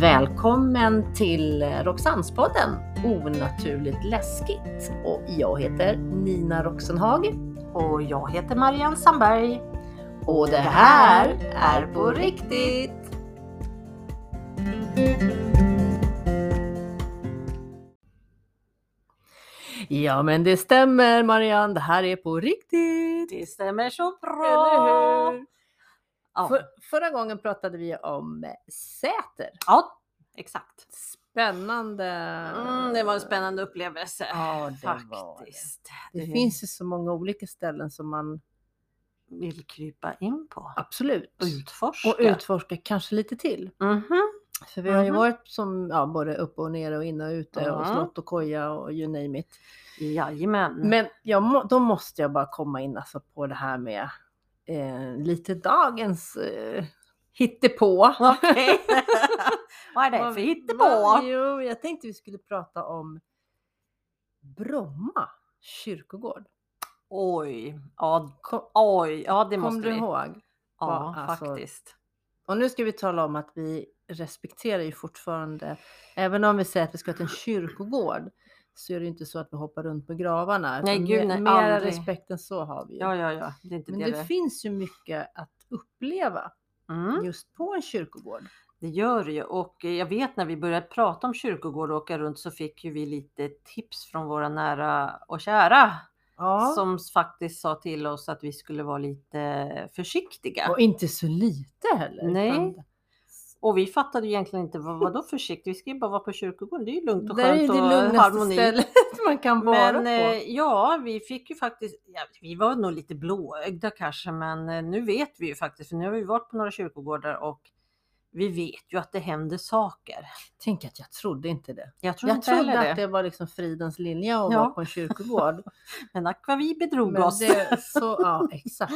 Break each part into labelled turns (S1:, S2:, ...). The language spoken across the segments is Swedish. S1: Välkommen till Roxannespodden Onaturligt läskigt. Och jag heter Nina Roxenhag.
S2: Och jag heter Marianne Sandberg.
S1: Och det här är på riktigt! Ja men det stämmer Marianne, det här är på riktigt!
S2: Det stämmer så
S1: Eller
S2: bra!
S1: hur?
S2: Ja,
S1: För, förra gången pratade vi om säter.
S2: ja exakt.
S1: Spännande!
S2: Mm, det var en spännande upplevelse.
S1: Ja, det var det.
S2: Faktiskt.
S1: Det
S2: Det-
S1: finns ju så många olika ställen som man
S2: Vill krypa in på.
S1: absolut
S2: Och utforska.
S1: och utforska kanske lite till.
S2: Mhm.
S1: För vi har ju
S2: Mhm.
S1: varit som, ja, både uppe och nere och inne och ute och
S2: Ja. Mm.
S1: slott och koja och you name it.
S2: Jajamän.
S1: Men jag må, då måste jag bara komma in alltså på det här med eh, lite dagens eh, hittepå.
S2: Okej. Vad är det
S1: Vad- vad-
S2: för hittepå?
S1: Jo, jag tänkte vi skulle prata om Bromma kyrkogård.
S2: Oj. Ja,
S1: Kom,
S2: oj. Ja, det
S1: kom
S2: måste
S1: du
S2: vi.
S1: ihåg?
S2: Ja,
S1: vad- alltså-
S2: faktiskt.
S1: Och nu ska vi tala om att vi respekterar ju fortfarande, även om vi säger att vi ska till en kyrkogård, så är det ju inte så att vi hoppar runt på gravarna.
S2: Nej,
S1: utan
S2: gud,
S1: mer-
S2: nej,
S1: mera
S2: aldrig.
S1: respekt än så har vi ju.
S2: Ja, ja, ja. Det är inte
S1: Men
S2: det
S1: det,
S2: det...
S1: finns ju mycket att uppleva
S2: Mm.
S1: just på en kyrkogård.
S2: Det gör det ju och eh, jag vet när vi började prata om kyrkogård och åka runt så fick ju vi lite tips från våra nära och kära
S1: Ja.
S2: som s- faktiskt sa till oss att vi skulle vara lite försiktiga.
S1: Och inte så lite heller.
S2: Nej.
S1: utan-
S2: Och vi fattade ju egentligen inte vad, vadå försiktigt, vi ska ju bara vara på kyrkogården, det är ju lugnt och
S1: Det är ju
S2: skönt
S1: det
S2: och
S1: lugnaste
S2: harmoni.
S1: stället man kan vara
S2: Men
S1: på.
S2: eh, ja, vi fick ju faktiskt, ja, vi var nog lite blåögda kanske, men eh, nu vet vi ju faktiskt, för nu har vi varit på några kyrkogårdar och vi vet ju att det händer saker.
S1: Tänk att jag trodde inte det.
S2: Jag tror
S1: Jag
S2: inte heller
S1: trodde
S2: det.
S1: att det var liksom fridens linje att
S2: Ja.
S1: vara på en kyrkogård.
S2: Men ack vad vi bedrog
S1: Men
S2: oss.
S1: det, så, ja, exakt.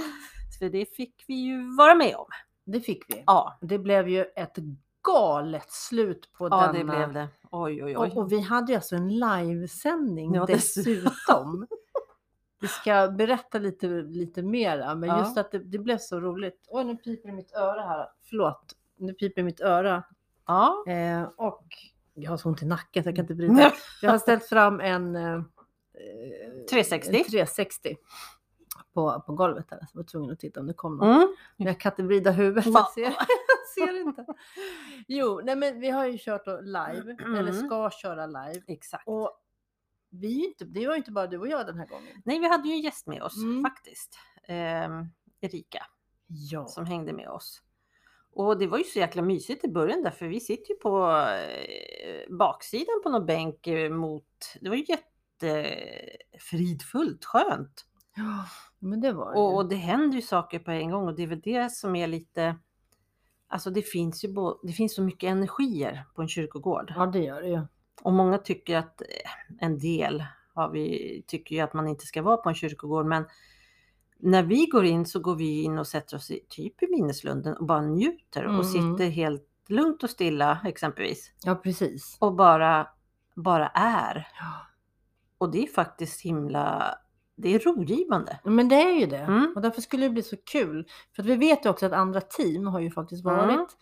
S2: För det fick vi ju vara med om.
S1: Det fick vi.
S2: Ja,
S1: Det blev ju ett galet slut på
S2: ja
S1: denna.
S2: det blev det. Oj, oj, oj.
S1: eh, Och, och vi hade ju alltså en livesändning
S2: Ja, dessutom.
S1: dessutom. Vi ska berätta lite, lite mera, men
S2: Ja.
S1: just att det, det blev så roligt. Oj, nu piper det i mitt öra här. Förlåt, nu piper det i mitt öra.
S2: Ja.
S1: Eh, och jag har så ont i nacken så jag kan inte bry mig. Jag har ställt fram en eh,
S2: 360.
S1: 360 på, på golvet. Här. Så jag var tvungen att titta om det kom någon.
S2: Mm.
S1: Men jag kan inte vrida huvudet.
S2: Va?
S1: Jag ser, jag ser inte. Jo, nej men vi har ju kört då live,
S2: Mm.
S1: eller ska köra live.
S2: Exakt.
S1: Och vi är ju inte, det var ju inte bara du och jag den här gången.
S2: Nej, vi hade ju en gäst med oss
S1: Mm.
S2: faktiskt. Ehm, Erika
S1: Ja.
S2: som hängde med oss. Och det var ju så jäkla mysigt i början där, för vi sitter ju på eh, baksidan på någon bänk eh, mot... Det var ju jättefridfullt, skönt.
S1: Ja, Men det var det
S2: Och,
S1: ju.
S2: och det händer ju saker på en gång och det är väl det som är lite... Alltså det finns ju bo, det finns så mycket energier på en kyrkogård.
S1: Ja, det gör det ju.
S2: Och många tycker att, eh, en del har vi, tycker ju att man inte ska vara på en kyrkogård, men när vi går in så går vi in och sätter oss i, typ i minneslunden och bara njuter och
S1: Mhm.
S2: sitter helt lugnt och stilla exempelvis.
S1: Ja, precis.
S2: Och bara, bara är.
S1: Ja.
S2: Och det är faktiskt himla, det är rogivande.
S1: Men det är ju det.
S2: Mm.
S1: Och därför skulle det bli så kul. För att vi vet ju också att andra team har ju faktiskt
S2: Mm.
S1: varit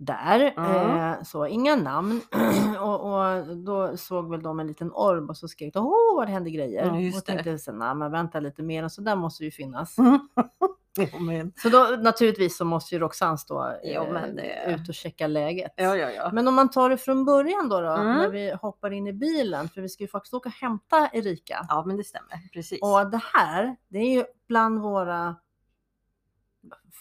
S1: där.
S2: Mm.
S1: Eh, så inga namn. och, och då såg väl de en liten orm och så skrek de åh vad det händer grejer.
S2: Ja, just
S1: och
S2: det. Mm.
S1: tänkte så nej men vänta lite mer och så där måste ju finnas.
S2: Jo, men-
S1: Så då naturligtvis så måste ju Roxanne stå eh,
S2: Jo, men det-
S1: ut och checka läget.
S2: ja, ja, ja.
S1: Men om man tar det från början då, då
S2: Mm.
S1: när vi hoppar in i bilen, för vi ska ju faktiskt åka och hämta Erika.
S2: Ja, men det stämmer. Precis.
S1: Och det här, det är ju bland våra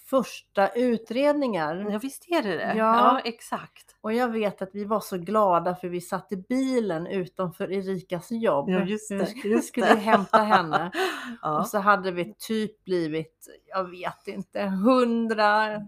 S1: första utredningar.
S2: Ja, visst är det det.
S1: Ja.
S2: Ja, exakt.
S1: Och jag vet att vi var så glada för vi satt i bilen utanför Erikas jobb.
S2: Ja, just
S1: Hur
S2: det,
S1: sk-
S2: just
S1: skulle
S2: det.
S1: hämta henne.
S2: Ja.
S1: Och så hade vi typ blivit, jag vet inte, hundra,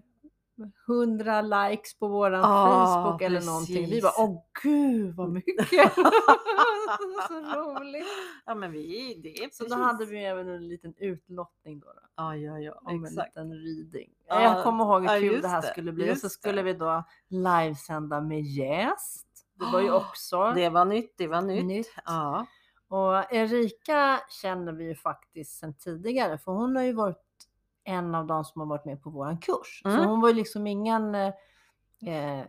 S1: hundra likes på våran
S2: Ja,
S1: Facebook eller någonting. Vi
S2: precis.
S1: bara, åh gud vad mycket! så roligt!
S2: Ja, men vi, det är
S1: Så då
S2: precis.
S1: hade vi även en liten utlottning då. då.
S2: Ja, ja, ja,
S1: om
S2: exakt.
S1: en liten reading.
S2: Ja,
S1: jag kommer ihåg hur
S2: ja,
S1: kul
S2: just
S1: det här
S2: det,
S1: skulle bli. Och
S2: just
S1: så
S2: det.
S1: skulle vi då livesända med gäst. Det var ju
S2: Ah,
S1: också
S2: Det var nytt, det var nytt.
S1: nytt.
S2: Ja,
S1: Och Erika känner vi ju faktiskt sedan tidigare för hon har ju varit en av de som har varit med på våran kurs. Så
S2: Mm.
S1: hon var ju liksom ingen eh, eh, eh,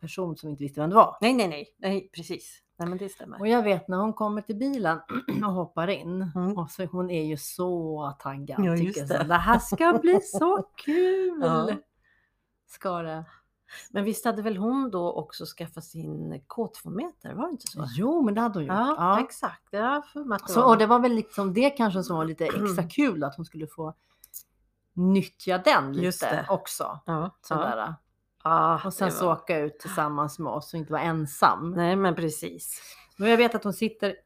S1: person som inte visste vem det var.
S2: Nej, nej, nej, nej, precis. Nej, men det stämmer.
S1: Och jag vet när hon kommer till bilen och hoppar in.
S2: Mm.
S1: Och så, hon är ju så taggad.
S2: Ja,
S1: tycker
S2: just
S1: Så,
S2: det.
S1: det här ska bli så kul!
S2: Ja.
S1: Ska det.
S2: Men visst hade väl hon då också skaffat sin K2-meter? Var det inte så?
S1: Jo, men det hade hon gjort.
S2: Ja,
S1: Ja.
S2: exakt. Det har jag för mig att det
S1: Så,
S2: var.
S1: och det var väl liksom det kanske som var lite extra kul att hon skulle få nyttja den lite
S2: Just det.
S1: också.
S2: Ja, ja.
S1: Sådär.
S2: Ja,
S1: Och sen
S2: det
S1: så
S2: var-
S1: åka ut tillsammans med oss och inte vara ensam.
S2: Nej, men precis.
S1: Men jag vet att hon sitter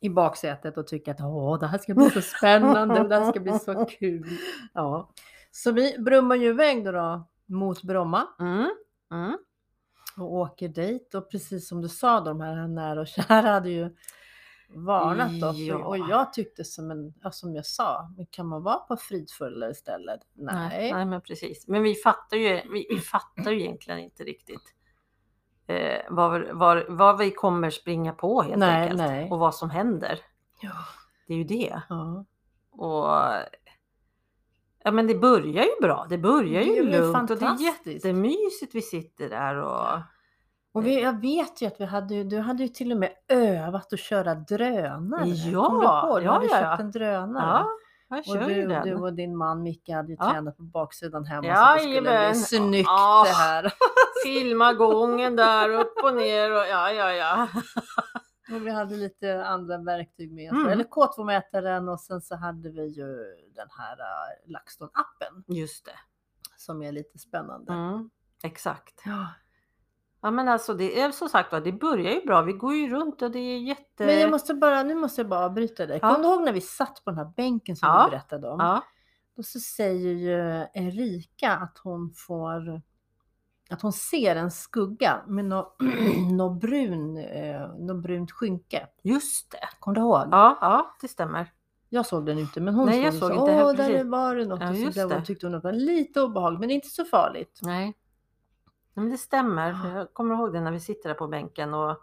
S1: i baksätet och tycker att Åh, det här ska bli så spännande och det här ska bli så kul.
S2: Ja.
S1: Så vi brummar ju iväg då, då mot Bromma
S2: Mm. Mm.
S1: och åker dit och precis som du sa de här nära och kära hade ju varnat oss
S2: Ja.
S1: och jag tyckte som, en, ja, som jag sa, men kan man vara på fridfullare stället? Nej.
S2: Nej, men precis. Men vi fattar ju, vi, vi fattar ju egentligen inte riktigt eh, vad, vad, vad vi kommer springa på helt
S1: Nej,
S2: enkelt.
S1: nej.
S2: Och vad som händer.
S1: Ja.
S2: Det är ju det.
S1: Ja.
S2: Och, ja, men det börjar ju bra. Det börjar
S1: Det är
S2: ju
S1: ju
S2: lugnt och det är
S1: fantastiskt.
S2: jättemysigt. Vi sitter där och...
S1: Och vi, jag vet ju att vi hade, ju- du hade ju till och med övat att köra drönare.
S2: Ja,
S1: Kommer du ihåg? Du
S2: ja,
S1: hade
S2: ja, ja.
S1: köpt en drönare.
S2: Ja, jag
S1: Och
S2: kör ju
S1: du,
S2: den.
S1: du och din man Micke hade ju
S2: Ja.
S1: tränat på baksidan hemma. så att det skulle
S2: Jajamän.
S1: bli snyggt
S2: Ah.
S1: det här.
S2: Filma gången där upp och ner och ja, ja, ja.
S1: Och vi hade lite andra verktyg med oss.
S2: Mm.
S1: Eller K2-mätaren och sen så hade vi ju den här äh, LaxTon-appen
S2: Just det.
S1: som är lite spännande.
S2: Mm, exakt.
S1: Ja.
S2: Ja, men alltså det är som sagt var, det börjar ju bra. Vi går ju runt och det är jätte...
S1: Men jag måste bara, nu måste jag bara avbryta dig.
S2: Ja.
S1: Kommer du ihåg när vi satt på den här bänken som
S2: Ja.
S1: du berättade om?
S2: Ja,
S1: Då så säger ju Erika att hon får att hon ser en skugga med något nå brun, eh, nå brunt skynke.
S2: just det.
S1: Kommer du ihåg?
S2: Ja, ja, det stämmer.
S1: Jag såg den inte men hon
S2: Nej,
S1: såg,
S2: jag
S1: den
S2: såg
S1: så,
S2: inte heller,
S1: Åh, där
S2: precis."
S1: var det något.
S2: Ja,
S1: och så
S2: just
S1: där, och hon
S2: det.
S1: tyckte hon att det var lite obehagligt men det är inte så farligt.
S2: Nej. Nej, men det stämmer. för Jag kommer ihåg det när vi sitter där på bänken och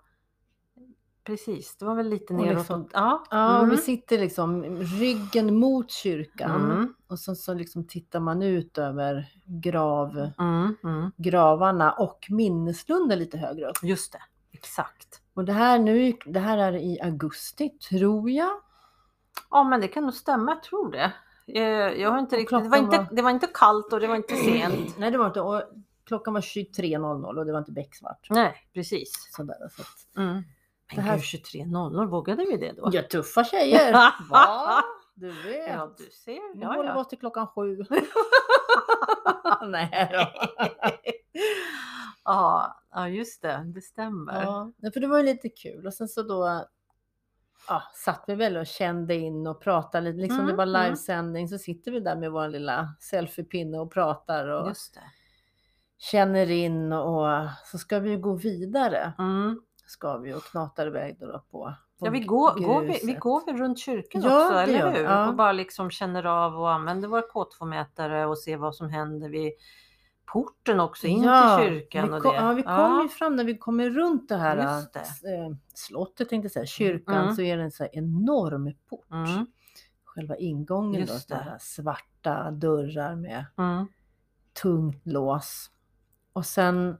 S2: precis, det var väl lite
S1: Och
S2: neråt.
S1: liksom-
S2: och- Ja,
S1: Ja, och
S2: mm.
S1: vi sitter liksom ryggen mot kyrkan
S2: Mm,
S1: och sen så liksom tittar man ut över grav,
S2: mm, mm.
S1: gravarna och minneslunden lite högre upp.
S2: Just det, exakt.
S1: Och det här, nu, det här är i augusti tror jag.
S2: Ja, men det kan nog stämma, jag tror det. Eh, Jag har inte
S1: Och
S2: riktigt, det, var
S1: klockan
S2: inte,
S1: var-
S2: det var inte kallt och det var inte sent.
S1: Nej det var inte, och klockan var 23.00 och det var inte becksvart.
S2: Nej, precis.
S1: Sådär, så att,
S2: Mm.
S1: Det
S2: Men
S1: här-
S2: gud, 23.00, vågade vi det då?
S1: ja, tuffa tjejer! Va? Du vet.
S2: Ja, du ser.
S1: Vi
S2: Ja,
S1: håller
S2: ja.
S1: oss till klockan sju. Nej då.
S2: ja, ja, just det. Det stämmer.
S1: Ja, nej, för det var ju lite kul och sen så då ja, satt vi väl och kände in och pratade lite. Liksom
S2: Mm,
S1: det var
S2: mm.
S1: livesändning så sitter vi där med vår lilla selfiepinne och pratar och
S2: Just det.
S1: känner in och så ska vi ju gå vidare.
S2: Mm.
S1: Ska vi och knatar iväg då då på, på
S2: Ja, vi, går, går vi, vi
S1: gruset.
S2: går väl runt kyrkan
S1: Ja,
S2: också,
S1: det
S2: eller
S1: gör vi.
S2: hur?
S1: Ja.
S2: Och bara liksom känner av och använder vår K2-mätare och ser vad som händer vid porten också in till kyrkan.
S1: Vi
S2: och
S1: kom,
S2: det.
S1: Ja, vi kom ju fram när vi kommer runt det här
S2: Just det.
S1: eh, slottet, tänkte jag säga, kyrkan,
S2: Mm.
S1: så är det en så här enorm port.
S2: Mm,
S1: Själva ingången
S2: Just
S1: då,
S2: det.
S1: sådana här svarta dörrar med
S2: mm.
S1: tungt lås. Och sen,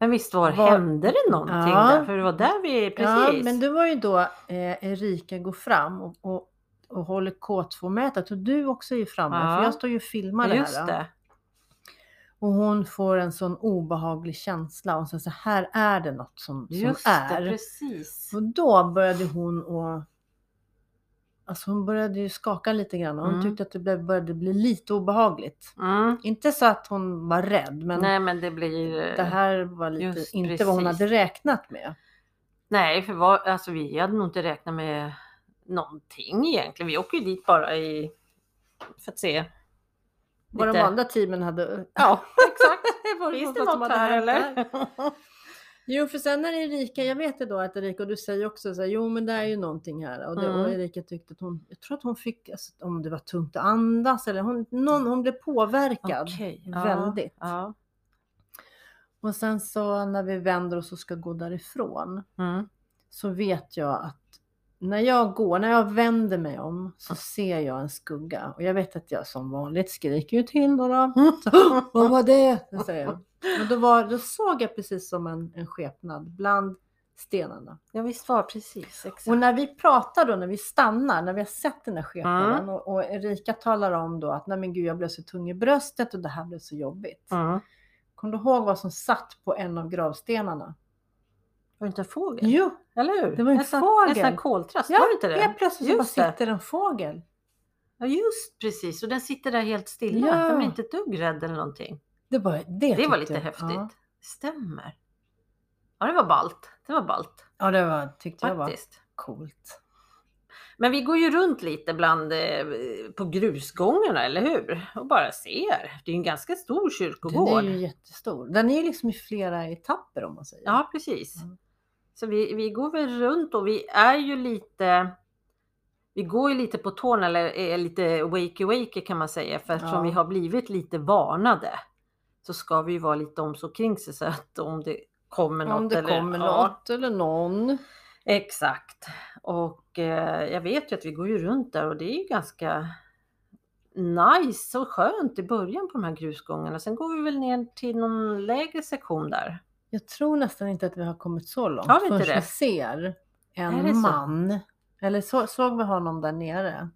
S2: Men visst var,
S1: Var-
S2: hände det någonting
S1: Ja.
S2: där? För det var där vi,
S1: ja,
S2: precis.
S1: men det var ju då eh, Erika går fram och, och, och håller K2-mätet och du också är ju framme,
S2: Ja.
S1: för jag står ju och filmar det här.
S2: Just
S1: då.
S2: det.
S1: Och hon får en sån obehaglig känsla och så, så här är det något som, som
S2: Just
S1: är.
S2: det, precis.
S1: Och då började hon att... Alltså hon började ju skaka lite grann och hon
S2: Mm.
S1: tyckte att det blev- började bli lite obehagligt.
S2: Mm.
S1: Inte så att hon var rädd, men
S2: Nej, men det blir...
S1: det här var lite,
S2: just
S1: inte vad hon
S2: precis.
S1: hade räknat med.
S2: Nej, för vad, alltså, vi hade nog inte räknat med någonting egentligen. Vi åker ju dit bara i... för att se.
S1: Vad de
S2: Lite-
S1: andra teamen hade...
S2: Ja, exakt.
S1: vad
S2: Finns det
S1: vad som
S2: något
S1: hade
S2: här
S1: hänt
S2: eller?
S1: där. Jo, för sen när Erika, jag vet det då att Erika, och du säger också så här, jo men det är ju någonting här. Och, det,
S2: Mm.
S1: och Erika tyckte att hon, jag tror att hon fick, alltså, om det var tungt att andas eller hon, någon, hon blev påverkad.
S2: Okej,
S1: Väldigt.
S2: Ja,
S1: Och sen så när vi vänder oss och ska gå därifrån
S2: ja. Mm.
S1: så vet jag att när jag går, när jag vänder mig om så ser jag en skugga och jag vet att jag som vanligt skriker ju till då. då. Så, Vad var det? Så säger jag. Men då, var, då såg jag precis som en, en skepnad bland stenarna.
S2: Ja visst var precis. Exakt.
S1: Och när vi pratar då, när vi stannar, när vi har sett den här skepnaden och, och Erika talar om då att nej men gud jag blev så tung i bröstet och det här blev så jobbigt.
S2: Mm.
S1: Kommer du ihåg vad som satt på en av gravstenarna?
S2: Var det inte en fågel?
S1: Jo,
S2: Eller hur?
S1: Det var ju en
S2: sån- En
S1: fågel.
S2: sån här koltrast,
S1: Ja,
S2: var det inte det?
S1: helt plötsligt så bara
S2: Just det.
S1: sitter en fågel.
S2: Ja just precis, och den sitter där helt stilla.
S1: Ja.
S2: Den blir inte ett dugg rädd eller någonting.
S1: Det var, det
S2: Det
S1: tyckte
S2: var lite
S1: jag-
S2: häftigt.
S1: Ja,
S2: Stämmer. Ja det var ballt. Det var ballt
S1: ja det var, tyckte jag var
S2: faktiskt.
S1: coolt.
S2: Men vi går ju runt lite bland eh, på grusgångarna, eller hur? Och bara ser. Det är ju en ganska stor
S1: Den är
S2: kyrkogård.
S1: ju jättestor. Den är ju liksom i flera etapper om man säger.
S2: Ja, precis.
S1: Mm.
S2: Så vi, vi går väl runt och vi är ju lite... Vi går ju lite på tårna eller är lite wakey-wakey kan man säga. För eftersom
S1: Ja.
S2: vi har blivit lite varnade så ska vi ju vara lite om så kring sig så att om det kommer något.
S1: om det
S2: eller,
S1: kommer
S2: Ja,
S1: något eller någon.
S2: Exakt. Och eh, jag vet ju att vi går ju runt där och det är ju ganska nice och skönt i början på de här grusgångarna. Sen går vi väl ner till någon lägre sektion där.
S1: Jag tror nästan inte att vi har kommit så långt
S2: Har vi inte
S1: förrän vi
S2: det?
S1: ser
S2: Är det
S1: en
S2: så?
S1: man. Eller så, såg vi honom där nere?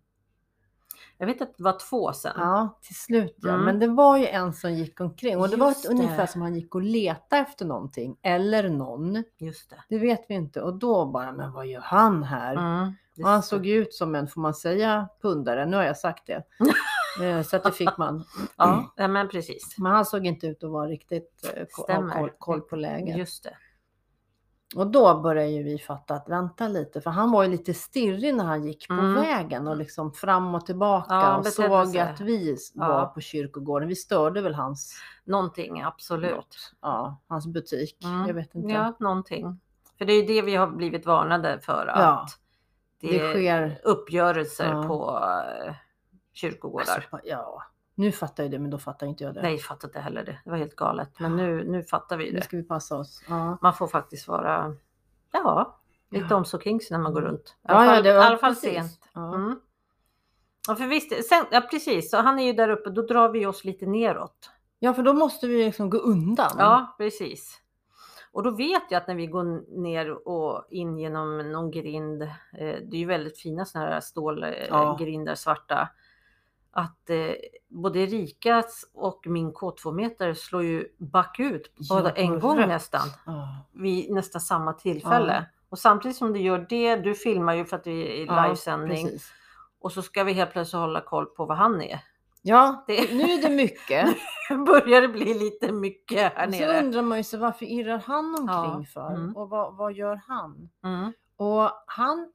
S2: Jag vet att det var två sen.
S1: Ja, till slut ja.
S2: Mm.
S1: Men det var ju en som gick omkring och det var
S2: Just
S1: ett, ungefär
S2: det.
S1: som han gick och letade efter någonting eller någon.
S2: Just det.
S1: Det vet vi inte och då bara, men vad gör han här?
S2: Mm.
S1: Och han såg ju ut som en, får man säga, pundare? Nu har jag sagt det. Eh, Så att det fick man.
S2: Ja, nej, men precis.
S1: Men han såg inte ut att vara riktigt eh, ko- ha
S2: Stämmer.
S1: koll, koll på läget.
S2: Just det.
S1: Och då började ju vi fatta att vänta lite, för han var ju lite stirrig när han gick på
S2: Mm.
S1: vägen och liksom fram och tillbaka
S2: Ja, han
S1: och
S2: betedde
S1: såg
S2: sig.
S1: att vi s-
S2: Ja.
S1: var på kyrkogården. Vi störde väl hans,
S2: Någonting, absolut.
S1: ja, hans butik.
S2: Mm.
S1: Jag vet inte.
S2: Ja, någonting. För det är ju det vi har blivit varnade för att
S1: Ja.
S2: det,
S1: det sker.
S2: uppgörelser
S1: Ja.
S2: på eh, kyrkogårdar.
S1: Alltså, ja, nu fattar jag det, men då fattar inte jag det.
S2: Nej, jag fattade inte heller det. Det var helt galet. Men nu, nu fattar vi
S1: nu
S2: det.
S1: ska vi passa oss. Ja.
S2: Man får faktiskt vara, ja, lite
S1: Ja. Mm.
S2: om så kring sig när man går runt. I
S1: Ja,
S2: alla
S1: ja,
S2: fall,
S1: det var-
S2: i alla fall
S1: precis.
S2: sent.
S1: Ja.
S2: Mm. Ja, för visst, sen, ja, precis. Så han är ju där uppe, då drar vi oss lite neråt.
S1: ja, för då måste vi liksom gå undan.
S2: Ja, precis. Och då vet jag att när vi går ner och in genom någon grind, eh, det är ju väldigt fina sådana här
S1: Ja.
S2: stålgrindar, svarta, att eh, både Rikas och min K2-metare slår ju bakut
S1: Ja,
S2: bara en
S1: på
S2: gång
S1: rött.
S2: nästan,
S1: Ja.
S2: vid nästan samma tillfälle. Och samtidigt som du gör det, du filmar ju för att vi är i
S1: Ja,
S2: livesändning,
S1: precis.
S2: och så ska vi helt plötsligt hålla koll på vad han är.
S1: Ja,
S2: Det-
S1: nu är det mycket.
S2: börjar det bli lite mycket här
S1: Och så
S2: nere.
S1: undrar man ju sig varför irrar han omkring för
S2: mm.
S1: och vad, vad gör han?
S2: Mm,
S1: Och han...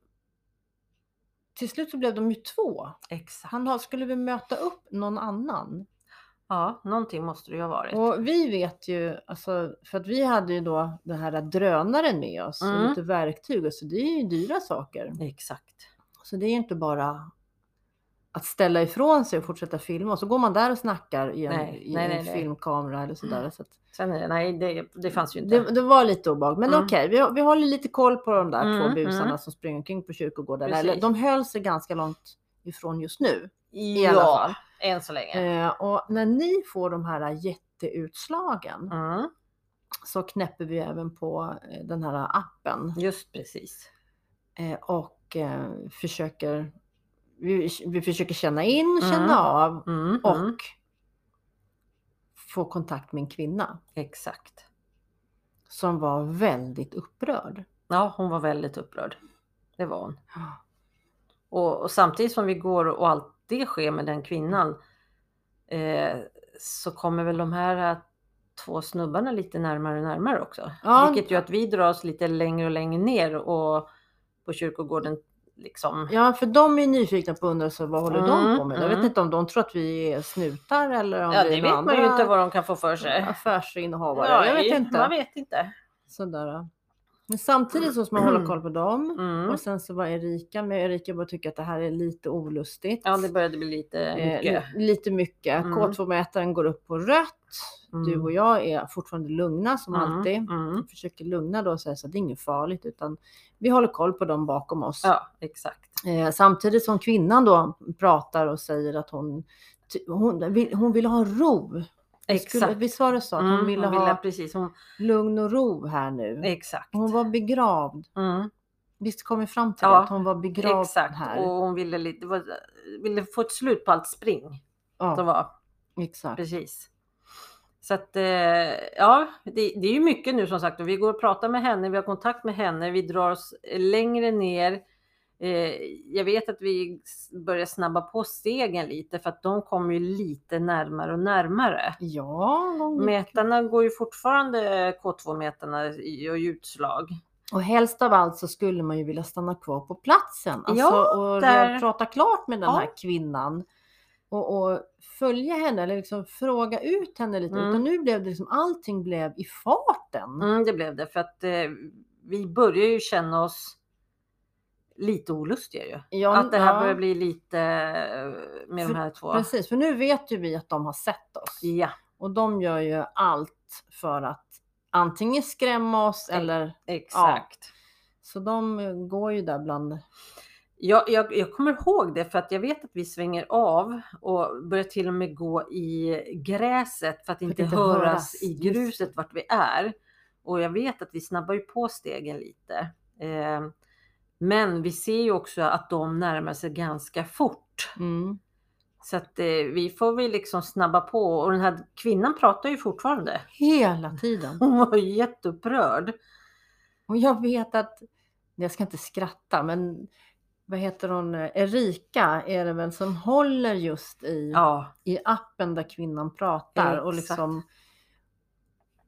S1: Till slut så blev de ju två.
S2: exakt.
S1: Han har- skulle väl möta upp någon annan.
S2: Ja, någonting måste det ju ha varit.
S1: Och vi vet ju, alltså, för att vi hade ju då den här drönaren med oss och
S2: Mm.
S1: lite verktyg och så det är ju dyra saker.
S2: Exakt.
S1: Så det är ju inte bara att ställa ifrån sig och fortsätta filma och så går man där och snackar i en,
S2: Nej,
S1: i
S2: nej,
S1: en
S2: nej, nej.
S1: filmkamera eller sådär. Så att
S2: Sen är det, nej, det, det fanns ju inte.
S1: Det, det var lite obehagligt. Men
S2: Mm.
S1: okej, vi, vi håller lite koll på de där två
S2: Mm,
S1: busarna
S2: mm.
S1: som springer omkring på kyrkogården.
S2: Precis.
S1: Eller, de höll sig ganska långt ifrån just nu.
S2: I
S1: alla
S2: alla
S1: fall.
S2: fall. Än så länge.
S1: Eh, och när ni får de här jätteutslagen
S2: Mm,
S1: så knäpper vi även på eh, den här appen
S2: just precis.
S1: eh, och eh, försöker, vi, vi försöker känna in,
S2: Mm.
S1: känna av
S2: Mm,
S1: och
S2: mm,
S1: få kontakt med en kvinna
S2: exakt.
S1: som var väldigt upprörd.
S2: Ja, hon var väldigt upprörd. Det var hon. Och, och samtidigt som vi går och allt det sker med den kvinnan eh, så kommer väl de här eh, två snubbarna lite närmare och närmare också.
S1: Ja.
S2: Vilket gör att vi drar oss lite längre och längre ner och på kyrkogården liksom.
S1: Ja, för de är nyfikna på och undrar så vad håller de
S2: Mm,
S1: på med? Jag vet
S2: mm.
S1: inte om de tror att vi är snutar eller om
S2: Ja,
S1: vi
S2: det
S1: är
S2: vet man ju
S1: andra
S2: inte vad de kan få för sig.
S1: affärsinnehavare.
S2: Ja,
S1: jag vet
S2: i-
S1: inte.
S2: Man vet inte.
S1: Sådär. Men samtidigt så måste man hålla koll på dem.
S2: Mm.
S1: Och sen så var Erika med. Erika bara tycker att det här är lite olustigt.
S2: Ja, det började bli lite
S1: Eh,
S2: mycket.
S1: li- lite mycket.
S2: Mm.
S1: K2-mätaren går upp på rött. Du
S2: Mm.
S1: och jag är fortfarande lugna som
S2: Mm,
S1: alltid.
S2: Mm.
S1: Försöker lugna då och säga så att det är inget farligt utan vi håller koll på dem bakom oss.
S2: Ja, exakt.
S1: Eh, samtidigt som kvinnan då pratar och säger att hon, ty- hon, vill, hon vill ha ro. Vi skulle-
S2: Exakt.
S1: Visst var det så att
S2: Mm,
S1: hon ville
S2: hon
S1: ha
S2: precis, hon,
S1: lugn och ro här nu?
S2: exakt.
S1: Hon var begravd.
S2: Mm,
S1: Visst kom vi fram till det,
S2: Ja,
S1: att hon var begravd
S2: exakt.
S1: här?
S2: Och hon ville, lite, det var, ville få ett slut på allt spring. Det
S1: ja,
S2: var,
S1: exakt.
S2: precis. Så att eh, ja, det, det är ju mycket nu som sagt och vi går och pratar med henne, vi har kontakt med henne, vi drar oss längre ner. Eh, jag vet att vi s- börjar snabba på stegen lite för att de kommer ju lite närmare och närmare.
S1: Ja, hon gick-
S2: Mätarna går ju fortfarande, K2-mätarna gör ju utslag.
S1: och helst av allt så skulle man ju vilja stanna kvar på platsen. Alltså,
S2: Ja,
S1: och
S2: där-
S1: re- prata klart med den
S2: Ja.
S1: här kvinnan. Och, och följa henne eller liksom fråga ut henne lite.
S2: Mm.
S1: Utan nu blev det liksom, allting blev i farten.
S2: Mm, det blev det för att eh, vi börjar ju känna oss lite olustiga ju.
S1: Ja,
S2: Att det här
S1: ja,
S2: börjar bli lite eh, med de här två.
S1: Precis, för nu vet ju vi att de har sett oss.
S2: Ja,
S1: Och de gör ju allt för att antingen skrämma oss
S2: Mm.
S1: eller
S2: exakt.
S1: så de eh, går ju där bland.
S2: Jag, jag, jag kommer ihåg det för att jag vet att vi svänger av och börjar till och med gå i gräset för att inte,
S1: inte
S2: höras,
S1: höras,
S2: i
S1: just det.
S2: gruset vart vi är. Och jag vet att vi snabbar ju på stegen lite. Eh, men vi ser ju också att de närmar sig ganska fort.
S1: Mm.
S2: Så att eh, vi får väl liksom snabba på och den här kvinnan pratar ju fortfarande.
S1: Hela tiden.
S2: Hon var ju jätteupprörd.
S1: Och jag vet att, jag ska inte skratta men vad heter hon, eh, Erika är det väl som håller just i,
S2: Ja,
S1: i appen där kvinnan pratar och
S2: Exakt.
S1: liksom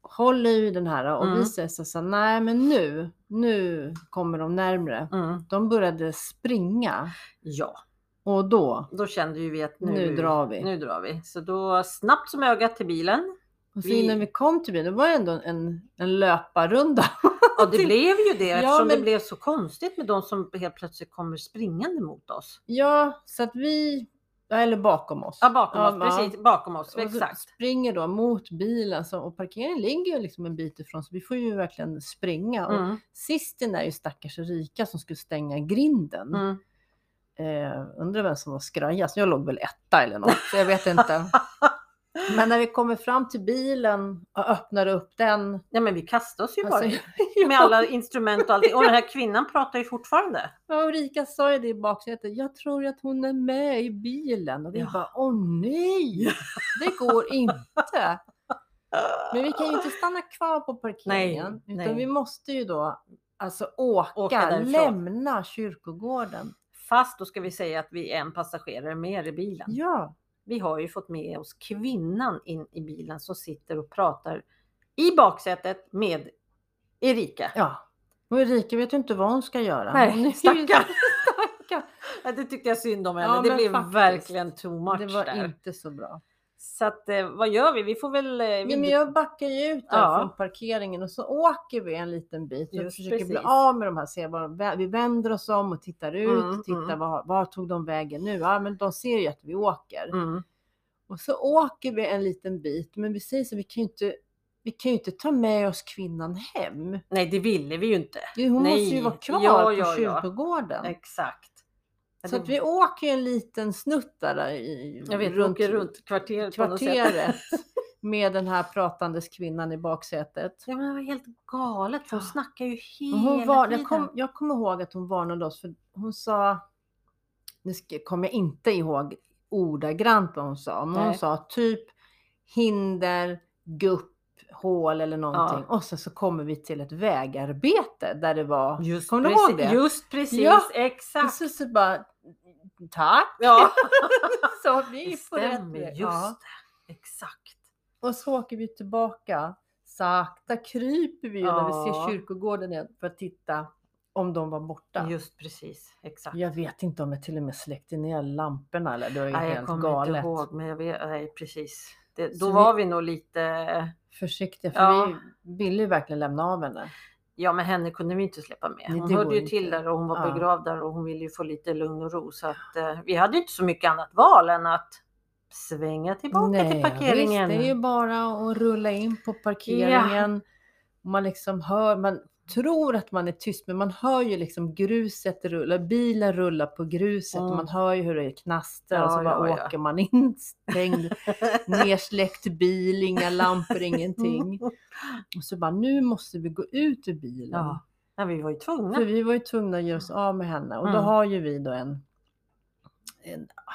S1: håller i den här och
S2: Mm.
S1: vi säger så här, nej men nu, nu kommer de närmre.
S2: mm,
S1: De började springa
S2: ja,
S1: och då
S2: då kände ju vi att nu,
S1: Nu drar vi.
S2: Nu drar vi. Så då snabbt som ögat till bilen.
S1: Och så
S2: Vi-
S1: innan vi kom till bilen, det var ju ändå en, en löparrunda.
S2: Ja, det blev ju det eftersom det
S1: men-
S2: blev så konstigt med de som helt plötsligt kommer springande mot oss.
S1: Ja, så att vi, ja, eller bakom oss.
S2: Ja, bakom
S1: Ja,
S2: oss. Precis, bakom oss.
S1: Och så
S2: Exakt.
S1: springer då mot bilen så, och parkeringen ligger ju liksom en bit ifrån så vi får ju verkligen springa. Och
S2: Mm,
S1: sist in är ju stackars Erika som skulle stänga grinden.
S2: mm.
S1: Eh, undrar vem som var skrajast. Jag låg väl etta eller något, så jag vet inte. Men när vi kommer fram till bilen och öppnar upp den.
S2: Ja, men vi kastade oss ju bara
S1: Alltså,
S2: in. med alla instrument och allting. Och den här kvinnan pratar ju fortfarande.
S1: Ja, och Rika sa ju det i baksätet. Jag tror att hon är med i bilen. Och vi
S2: Ja.
S1: bara, åh nej, det går inte. Men vi kan ju inte stanna kvar på parkeringen.
S2: Nej,
S1: utan vi
S2: nej.
S1: måste ju då alltså åka,
S2: Åka därifrån. Mm.
S1: lämna kyrkogården.
S2: Fast då ska vi säga att vi är en passagerare mer i bilen.
S1: Ja,
S2: Vi har ju fått med oss kvinnan in i bilen som sitter och pratar i baksätet med Erika.
S1: ja. Och Erika vet ju inte vad hon ska göra.
S2: Nej,
S1: Hon är ju-
S2: stackarn.
S1: stackarn.
S2: Ja, Det tyckte jag synd om henne.
S1: Ja,
S2: det
S1: men
S2: blev
S1: faktiskt.
S2: verkligen too much
S1: Det var
S2: där.
S1: inte så bra.
S2: Så att, eh, vad gör vi? Vi får väl... eh,
S1: Nej,
S2: vi-
S1: men jag backar ju ut där
S2: Ja.
S1: från parkeringen och så åker vi en liten bit och
S2: Just
S1: försöker bli
S2: precis.
S1: av med de här. Ser bara, vi vänder oss om och tittar ut.
S2: Mm,
S1: tittar
S2: mm.
S1: Var, var tog de vägen nu? Ja, men de ser ju att vi åker.
S2: Mm.
S1: Och så åker vi en liten bit, men vi säger så vi kan ju inte vi kan ju inte ta med oss kvinnan hem.
S2: Nej, det ville vi ju inte.
S1: Det- Hon måste
S2: Nej.
S1: ju vara kvar
S2: Ja,
S1: på
S2: ja, ja.
S1: kyrkogården.
S2: Exakt. Ja,
S1: Så
S2: det-
S1: att vi åker ju en liten snutt där i,
S2: jag vet, runt, åker runt kvarteret på något sätt.
S1: kvarteret med den här pratandes kvinnan i baksätet.
S2: Ja, men det var helt galet. för Hon
S1: Ja.
S2: snackar ju hela
S1: Och Hon var,
S2: tiden.
S1: jag, kom, jag kommer ihåg att hon varnade oss för hon sa, nu ska- kommer jag inte ihåg ordagrant vad hon sa, men hon
S2: Nej.
S1: sa typ hinder, gupp, hål eller någonting. Och sen så kommer vi till ett vägarbete där det var,
S2: Just
S1: kommer du
S2: precis,
S1: ihåg det?
S2: Just precis,
S1: Ja, och
S2: exakt.
S1: så, så bara, tack!
S2: Ja,
S1: Så vi
S2: det
S1: är på rätt
S2: stämmer.
S1: väg.
S2: Just
S1: Ja.
S2: det. Exakt.
S1: Och så åker vi tillbaka. Sakta kryper vi ju när vi
S2: Ja.
S1: ser kyrkogården igen för att titta om de var borta.
S2: Just precis, exakt.
S1: Jag vet inte om jag till och med släckte ner lamporna eller det var ju
S2: Nej, jag
S1: helt
S2: kommer
S1: galet.
S2: inte ihåg, men jag vet, nej, precis. Det, då
S1: Så vi-
S2: var vi nog lite...
S1: Försiktiga för
S2: Ja.
S1: vi ville ju verkligen lämna av henne.
S2: Ja, men henne kunde vi inte släppa med.
S1: Nej,
S2: Hon
S1: det
S2: hörde
S1: går
S2: ju
S1: inte.
S2: till där och hon var
S1: Ja.
S2: begravd där och hon ville ju få lite lugn och ro. Så att eh, vi hade ju inte så mycket annat val än att svänga tillbaka till parkeringen.
S1: Visst, det är ju bara att rulla in på parkeringen. Man liksom hör, man tror att man är tyst, men man hör ju liksom gruset rulla, bilen rullar på gruset och
S2: Mm.
S1: man hör ju hur det knastrar och
S2: Ja,
S1: så bara
S2: ja, ja.
S1: åker man in stängd, nersläckt bil, inga lampor, ingenting. Och så bara, nu måste vi gå ut ur bilen.
S2: Ja. ja, vi var ju tvungna.
S1: För vi var ju tvungna att göra oss av med henne och då
S2: Mm.
S1: har ju vi då en, en ah,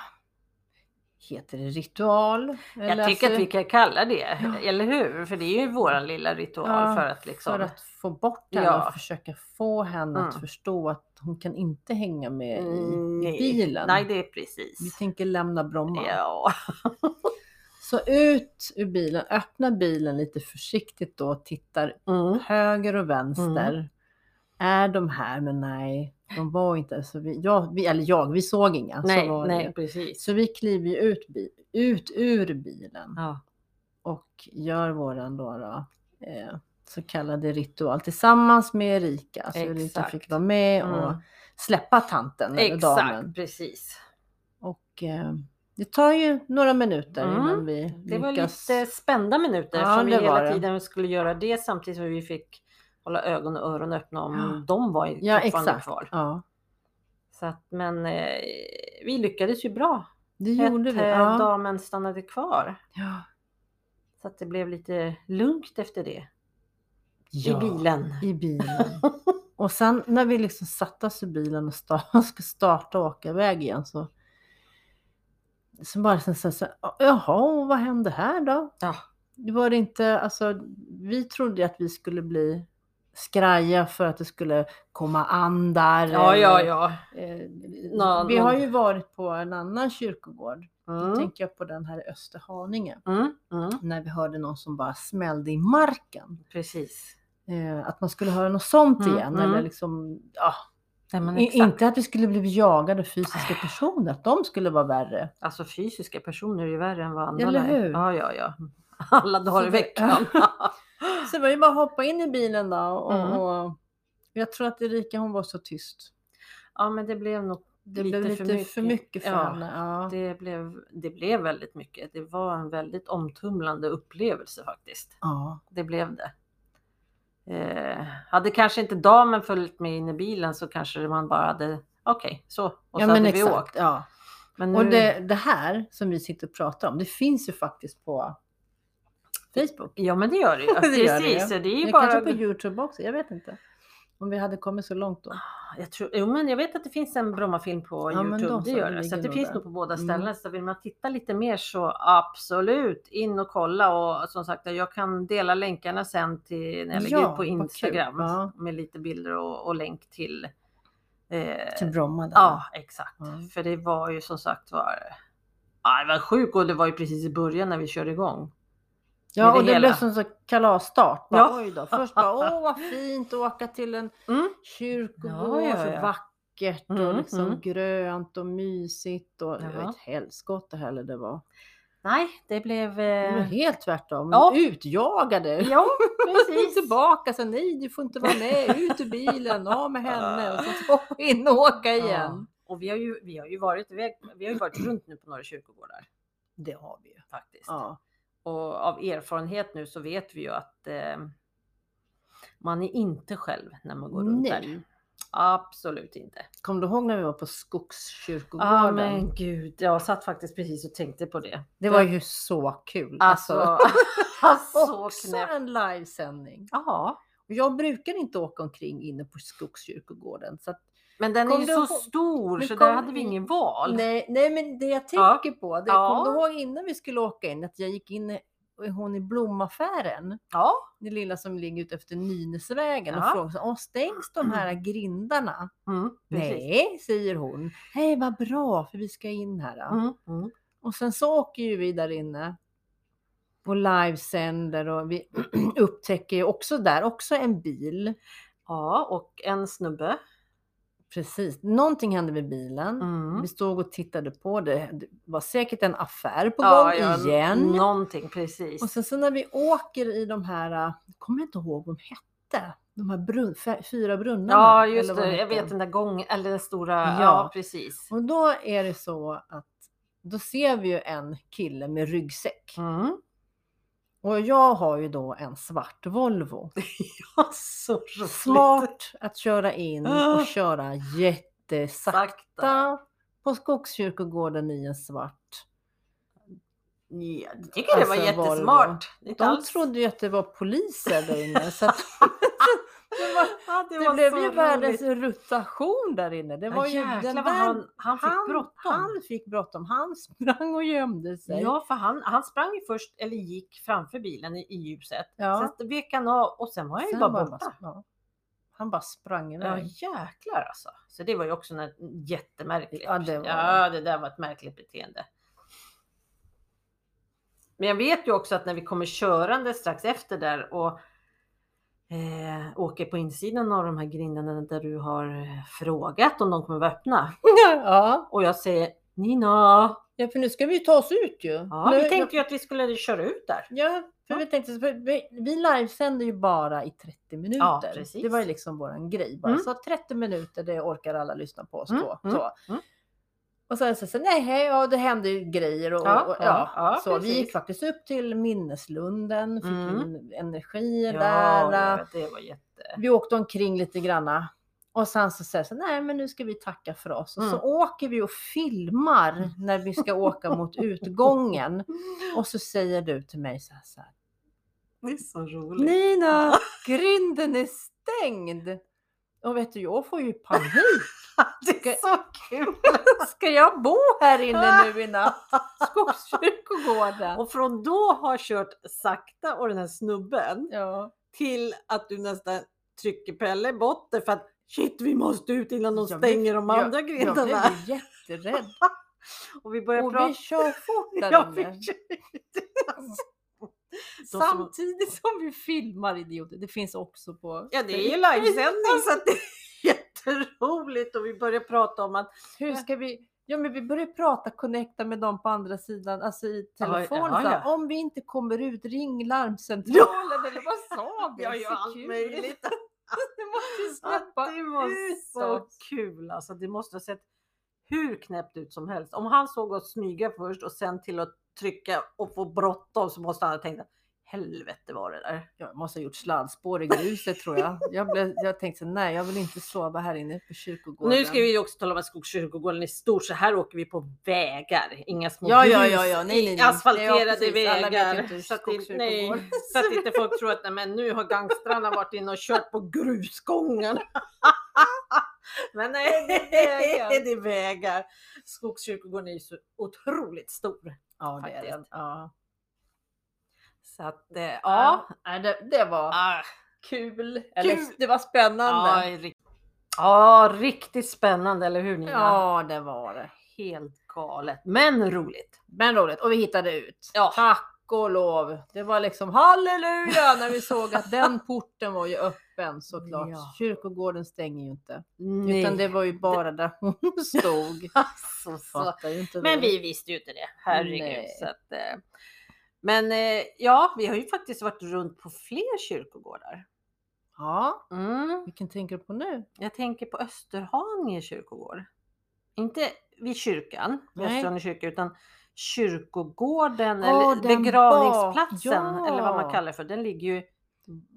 S1: heter det ritual? Eller
S2: Jag tycker att
S1: alltså,
S2: vi kan kalla det,
S1: Ja.
S2: eller hur? För det är ju våran lilla ritual
S1: Ja,
S2: för att liksom...
S1: För att få bort henne
S2: Ja.
S1: och försöka få henne att
S2: Mm.
S1: förstå att hon kan inte hänga med eh, i
S2: Nej.
S1: bilen.
S2: Nej, det är
S1: Vi
S2: precis.
S1: tänker lämna Bromma.
S2: Ja.
S1: Så ut ur bilen, öppna bilen lite försiktigt då, tittar
S2: Mm.
S1: höger och vänster. Är de här? Men nej, de var inte. Så vi, jag, vi, eller jag, vi såg inga.
S2: Nej,
S1: så var det.
S2: nej,
S1: ju.
S2: precis.
S1: Så vi kliver ju ut, bi- ut ur bilen
S2: Ja.
S1: och gör våran då, då eh, så kallade ritual tillsammans med Erika. Så Erika
S2: Exakt.
S1: fick vara med och
S2: Mm.
S1: släppa tanten eller damen.
S2: Exakt, precis.
S1: Och eh, det tar ju några minuter
S2: Mm.
S1: innan vi
S2: Det var
S1: lyckas.
S2: lite spända
S1: Ja,
S2: minuter eftersom vi
S1: det var
S2: hela
S1: det.
S2: tiden skulle göra det samtidigt som vi fick hålla ögon och öron öppna om
S1: Ja.
S2: de var
S1: Ja,
S2: fortfarande
S1: exakt.
S2: kvar.
S1: Ja,
S2: Så att, men eh, vi lyckades ju bra.
S1: det gjorde
S2: Att
S1: vi.
S2: eh,
S1: Ja.
S2: damen stannade kvar.
S1: Ja.
S2: Så att det blev lite lugnt efter det.
S1: Ja,
S2: I bilen.
S1: I bilen. Och sen när vi liksom satte oss i bilen och sta- ska starta och åka iväg igen så så bara sen så, så jaha, och vad hände här då?
S2: Ja.
S1: Det var det inte, alltså vi trodde ju att vi skulle bli skraja för att det skulle komma andar.
S2: Ja, ja,
S1: eller,
S2: ja.
S1: eh,
S2: Nå-
S1: vi har ju
S2: någon-
S1: varit på en annan kyrkogård. Då
S2: Mm.
S1: tänker jag på den här i Österhaninge.
S2: Mm. Mm.
S1: När vi hörde någon som bara smällde i marken.
S2: Precis.
S1: Eh, att man skulle höra något sånt
S2: Mm,
S1: igen.
S2: mm.
S1: Eller liksom, ja,
S2: Nej, men
S1: I,
S2: exakt.
S1: inte att vi skulle bli jagade av fysiska personer, att de skulle vara värre.
S2: Alltså fysiska personer är ju värre än vad andra
S1: Eller
S2: är.
S1: hur?
S2: Ja, ja, ja. Alla dagar
S1: Så
S2: i
S1: det-
S2: veckan.
S1: Så det var ju bara att hoppa in i bilen då. Och,
S2: Mm.
S1: och jag tror att Erika hon var så tyst.
S2: ja, men det blev nog
S1: Det blev lite för mycket, för
S2: ja,
S1: henne. Ja.
S2: Det blev, det blev väldigt mycket. Det var en väldigt omtumlande upplevelse faktiskt.
S1: Ja.
S2: Det blev det. Eh, hade kanske inte damen följt med in i bilen så kanske man bara hade okej, så. Och
S1: ja,
S2: så
S1: men
S2: hade
S1: exakt.
S2: vi åkt.
S1: Ja.
S2: Men
S1: Och det, det här som vi sitter och pratar om, det finns ju faktiskt på Facebook.
S2: Ja, men det gör det ju.
S1: Det gör det ju.
S2: Precis, det, är ju
S1: Men
S2: bara...
S1: Kanske på Youtube också, jag vet inte. Om vi hade kommit så långt då.
S2: Jag, tror, jo, men jag vet att det finns en Brommafilm på
S1: Ja, men
S2: Youtube.
S1: då
S2: Det
S1: så,
S2: gör
S1: det
S2: det. Så
S1: ligger
S2: att det
S1: nog
S2: finns
S1: där.
S2: nog på båda
S1: Mm.
S2: ställen. Så vill man titta lite mer så absolut in och kolla. Och som sagt, jag kan dela länkarna sen till när jag lägger
S1: Ja,
S2: ut på
S1: vad kul.
S2: Instagram
S1: Ja.
S2: med lite bilder och, och länk till. Eh,
S1: Till Bromma. Där.
S2: ja, exakt.
S1: Ja.
S2: För det var ju som sagt var. Ja, det var sjukt och det var ju precis i början när vi körde igång.
S1: Ja,
S2: med det
S1: och det
S2: hela.
S1: blev som så kalasstart. Bara,
S2: Ja.
S1: Oj då. Först bara, åh vad fint att åka till en
S2: Mm.
S1: kyrkogård,
S2: Ja, ja,
S1: så
S2: ja.
S1: vackert och
S2: Mm,
S1: liksom
S2: mm.
S1: grönt och mysigt och det var
S2: Ja.
S1: ett helskotta heller det var.
S2: Nej, det blev.
S1: Det var
S2: Eh,
S1: helt tvärtom,
S2: Ja.
S1: utjagade.
S2: ja,
S1: Precis.
S2: precis.
S1: Tillbaka, så nej du får inte vara med, ut ur bilen, av med henne och så hoppa in och åka
S2: Ah. Ja.
S1: igen.
S2: Och vi har ju, vi har ju varit, iväg, vi har ju varit runt nu på några kyrkogårdar
S1: Det har vi ju.
S2: faktiskt.
S1: Ja.
S2: Och av erfarenhet nu så vet vi ju att eh, man är inte själv när man går runt där.
S1: Nej.
S2: Absolut inte.
S1: Kom du ihåg när vi var på Skogskyrkogården?
S2: Ah, gud, jag satt faktiskt precis och tänkte på det.
S1: Det var ju så kul. Alltså,
S2: Alltså, så
S1: också
S2: knäppt.
S1: en livesändning.
S2: Ja,
S1: Och Jag brukar inte åka omkring inne på Skogskyrkogården. Så att,
S2: men den
S1: Kom
S2: är ju
S1: du
S2: så
S1: ihåg-
S2: stor
S1: Men
S2: så
S1: kom-
S2: där hade vi ingen val.
S1: nej, nej, men det jag
S2: Ja.
S1: tänker på, det
S2: Ja.
S1: kom du ihåg innan vi skulle åka in att jag gick in i, och hon i blomaffären,
S2: Ja,
S1: det lilla som ligger ute efter Nynäsvägen och
S2: Ja.
S1: frågade så, "Åh, stängs de här grindarna?
S2: mm, precis.
S1: Nej, säger hon. Hej, vad bra för vi ska in här. då."
S2: Mm, mm.
S1: Och sen så åker ju vi där inne och livesänder och vi upptäcker ju också där också en bil.
S2: Ja, och en snubbe.
S1: Precis, någonting hände med bilen.
S2: Mm.
S1: Vi stod och tittade på det. Det var säkert en affär på
S2: Ja,
S1: gång
S2: ja,
S1: igen.
S2: Någonting, precis.
S1: Och sen så när vi åker i de här, äh, jag kommer inte ihåg vad de hette, de här brun, fä- fyra brunnarna.
S2: Ja, just
S1: eller vad de
S2: det. Jag
S1: hette.
S2: vet den där gången, eller den stora. Ja,
S1: Ja.
S2: precis.
S1: Och då är det så att då ser vi ju en kille med ryggsäck.
S2: Mm.
S1: Och jag har ju då en svart Volvo.
S2: Ja, så roligt.
S1: Smart att köra in
S2: Ah.
S1: och köra jättesakta
S2: Sakta.
S1: på Skogskyrkogården i en svart.
S2: Ja, jag tycker det var
S1: Alltså, Volvo.
S2: jättesmart. Det är inte
S1: De
S2: alls-
S1: trodde ju att det var poliser där inne. Så att det var,
S2: Ja, det
S1: det
S2: var
S1: blev
S2: så
S1: ju
S2: roligt.
S1: världens rotation där inne. Det
S2: Ja,
S1: var ju
S2: jäklar
S1: den där,
S2: vad han, han fick bråttom.
S1: Han fick bråttom. Han sprang och gömde sig.
S2: Ja, för han, han sprang ju först, eller gick framför bilen i, i ljuset.
S1: Ja.
S2: Sen vek han av och sen var han ju
S1: Sen
S2: bara
S1: var han
S2: borta.
S1: ja. Han bara sprang
S2: Ja,
S1: iväg.
S2: jäklar alltså. Så det var ju också något jättemärkligt.
S1: Ja, det var-
S2: ja, det där var ett märkligt beteende. Men jag vet ju också att när vi kommer körande strax efter där och eh, åker på insidan av de här grindarna där du har frågat om de kommer vara öppna.
S1: ja.
S2: Och jag säger Nina!
S1: Ja, för nu ska vi ju ta oss ut ju.
S2: Ja,
S1: Nu-
S2: vi tänkte ju att vi skulle köra ut där.
S1: Ja, för
S2: Ja.
S1: vi tänkte, för vi, vi livesänder ju bara i 30 minuter.
S2: Ja, precis.
S1: Det var ju liksom våran grej. Bara.
S2: Mm.
S1: Så 30 minuter, det orkar alla lyssna på oss
S2: Mm,
S1: då.
S2: mm,
S1: Så.
S2: mm.
S1: Och sen så, så nej, hej, ja, det hände ju grejer. Och,
S2: Ja,
S1: och, och,
S2: ja,
S1: ja.
S2: ja,
S1: så vi gick
S2: precis.
S1: faktiskt upp till minneslunden, fick
S2: Mm.
S1: in energier
S2: Ja,
S1: där.
S2: ja, det var jätte...
S1: Vi åkte omkring lite granna. Och sen så säger jag så, nej men nu ska vi tacka för oss. Och så
S2: Mm.
S1: åker vi och filmar när vi ska åka mot utgången. Och så säger du till mig så här, så här
S2: Det är så roligt.
S1: Nina, grinden är stängd! Och vet du, jag får ju panik.
S2: Det är så kul!
S1: Ska jag bo här inne nu i natt? Skogskyrkogården.
S2: Och från då har kört sakta och den här snubben
S1: Ja.
S2: till att du nästan trycker Pelle i botten för att shit vi måste ut innan de
S1: Jag blev-
S2: stänger de
S1: jag-
S2: andra
S1: Jag blev
S2: grindarna.
S1: ju jätterädd.
S2: Och vi börjar
S1: Och
S2: prata.
S1: vi kör fort
S2: Ja,
S1: där
S2: vi
S1: inne.
S2: som-
S1: Samtidigt som vi filmar idioter. Det finns också på...
S2: ja det är ju livesändning så att det är jätteroligt och vi börjar prata om att
S1: Hur ska vi... Ja men vi börjar prata, connecta med dem på andra sidan, alltså i
S2: Ja,
S1: telefon.
S2: ja,
S1: så här,
S2: ja.
S1: Om vi inte kommer ut, ring larmcentralen eller vad sa vi?
S2: jag gör
S1: Så
S2: allt
S1: kul.
S2: möjligt.
S1: Du måste ju
S2: Ja,
S1: släppa
S2: det var
S1: ut
S2: så
S1: oss.
S2: kul alltså. Det måste ha sett hur knäppt ut som helst. Om han såg oss smyga först och sen till att trycka och få bråttom så måste han ha tänkt att helvete var det där.
S1: Jag måste ha gjort sladdspår i gruset tror jag. Jag, blev, jag tänkte så, här, nej jag vill inte sova här inne på kyrkogården.
S2: Nu ska vi ju också tala om att Skogskyrkogården är stor så här åker vi på vägar. Inga små
S1: Ja, ja,
S2: grus
S1: ja, ja. Nej,
S2: i
S1: nej, nej.
S2: asfalterade
S1: Ja, precis. Alla vet ju
S2: vägar.
S1: inte
S2: Så att, inte, nej,
S1: Skogskyrkogården.
S2: så att inte folk tror att nej, men nu har gangstrarna varit inne och kört på grusgången. men nej, det är vägar. Det är vägar. Skogskyrkogården är ju så otroligt stor.
S1: Ja, det är
S2: faktiskt.
S1: den. Ja.
S2: Så att eh, ja.
S1: Nej, det, det var
S2: Ah,
S1: kul. Eller
S2: Kul.
S1: det var spännande.
S2: ja, rikt- ja, riktigt spännande, eller hur Nina?
S1: Ja, det var det.
S2: Helt galet, men roligt.
S1: Men roligt. Och vi hittade ut.
S2: Ja.
S1: Tack och lov. Det var liksom halleluja när vi såg att den porten var ju öppen såklart.
S2: Ja.
S1: Kyrkogården stänger ju inte.
S2: Nej.
S1: Utan det var ju bara där hon stod.
S2: Alltså, så.
S1: Fattar ju inte
S2: Men
S1: vi.
S2: vi visste ju inte det, herregud.
S1: Nej.
S2: Så att, eh, men eh, ja, vi har ju faktiskt varit runt på fler kyrkogårdar.
S1: Ja, vilken tänker du på nu?
S2: Jag tänker på Österhaninge kyrkogård. Inte vid kyrkan, vid
S1: Nej.
S2: Österhaninge kyrka, utan kyrkogården
S1: Åh,
S2: eller
S1: den
S2: begravningsplatsen
S1: bak- ja.
S2: eller vad man kallar det för. Den ligger ju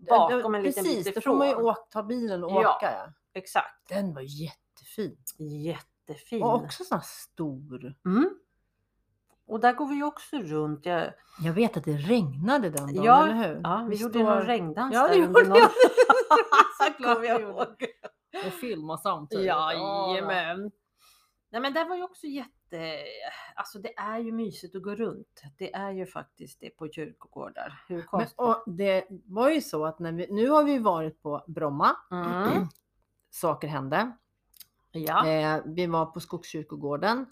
S2: bakom en liten
S1: Precis,
S2: bit
S1: då får man ju
S2: ifrån.
S1: åka, ta bilen och
S2: Ja.
S1: åka. Ja.
S2: Exakt.
S1: Den var jättefin.
S2: Jättefin.
S1: Och också sån här stor.
S2: Mm. Och där går vi ju också runt. Jag,
S1: Jag vet att det regnade den dagen,
S2: Ja,
S1: eller hur?
S2: ja, vi,
S1: Vi
S2: gjorde ju någon
S1: står-
S2: regndans
S1: Ja, det
S2: där
S1: gjorde
S2: under
S1: jag.
S2: Kommer jag ihåg.
S1: Och typ. filma samtidigt.
S2: Jajamän. Nej men det var ju också jätte, alltså det är ju mysigt att gå runt. Det är ju faktiskt det på kyrkogårdar. Hur
S1: Men,
S2: konstigt.
S1: och det var ju så att när vi, nu har vi varit på Bromma.
S2: Mm.
S1: Saker hände.
S2: Ja.
S1: Eh, vi var på Skogskyrkogården.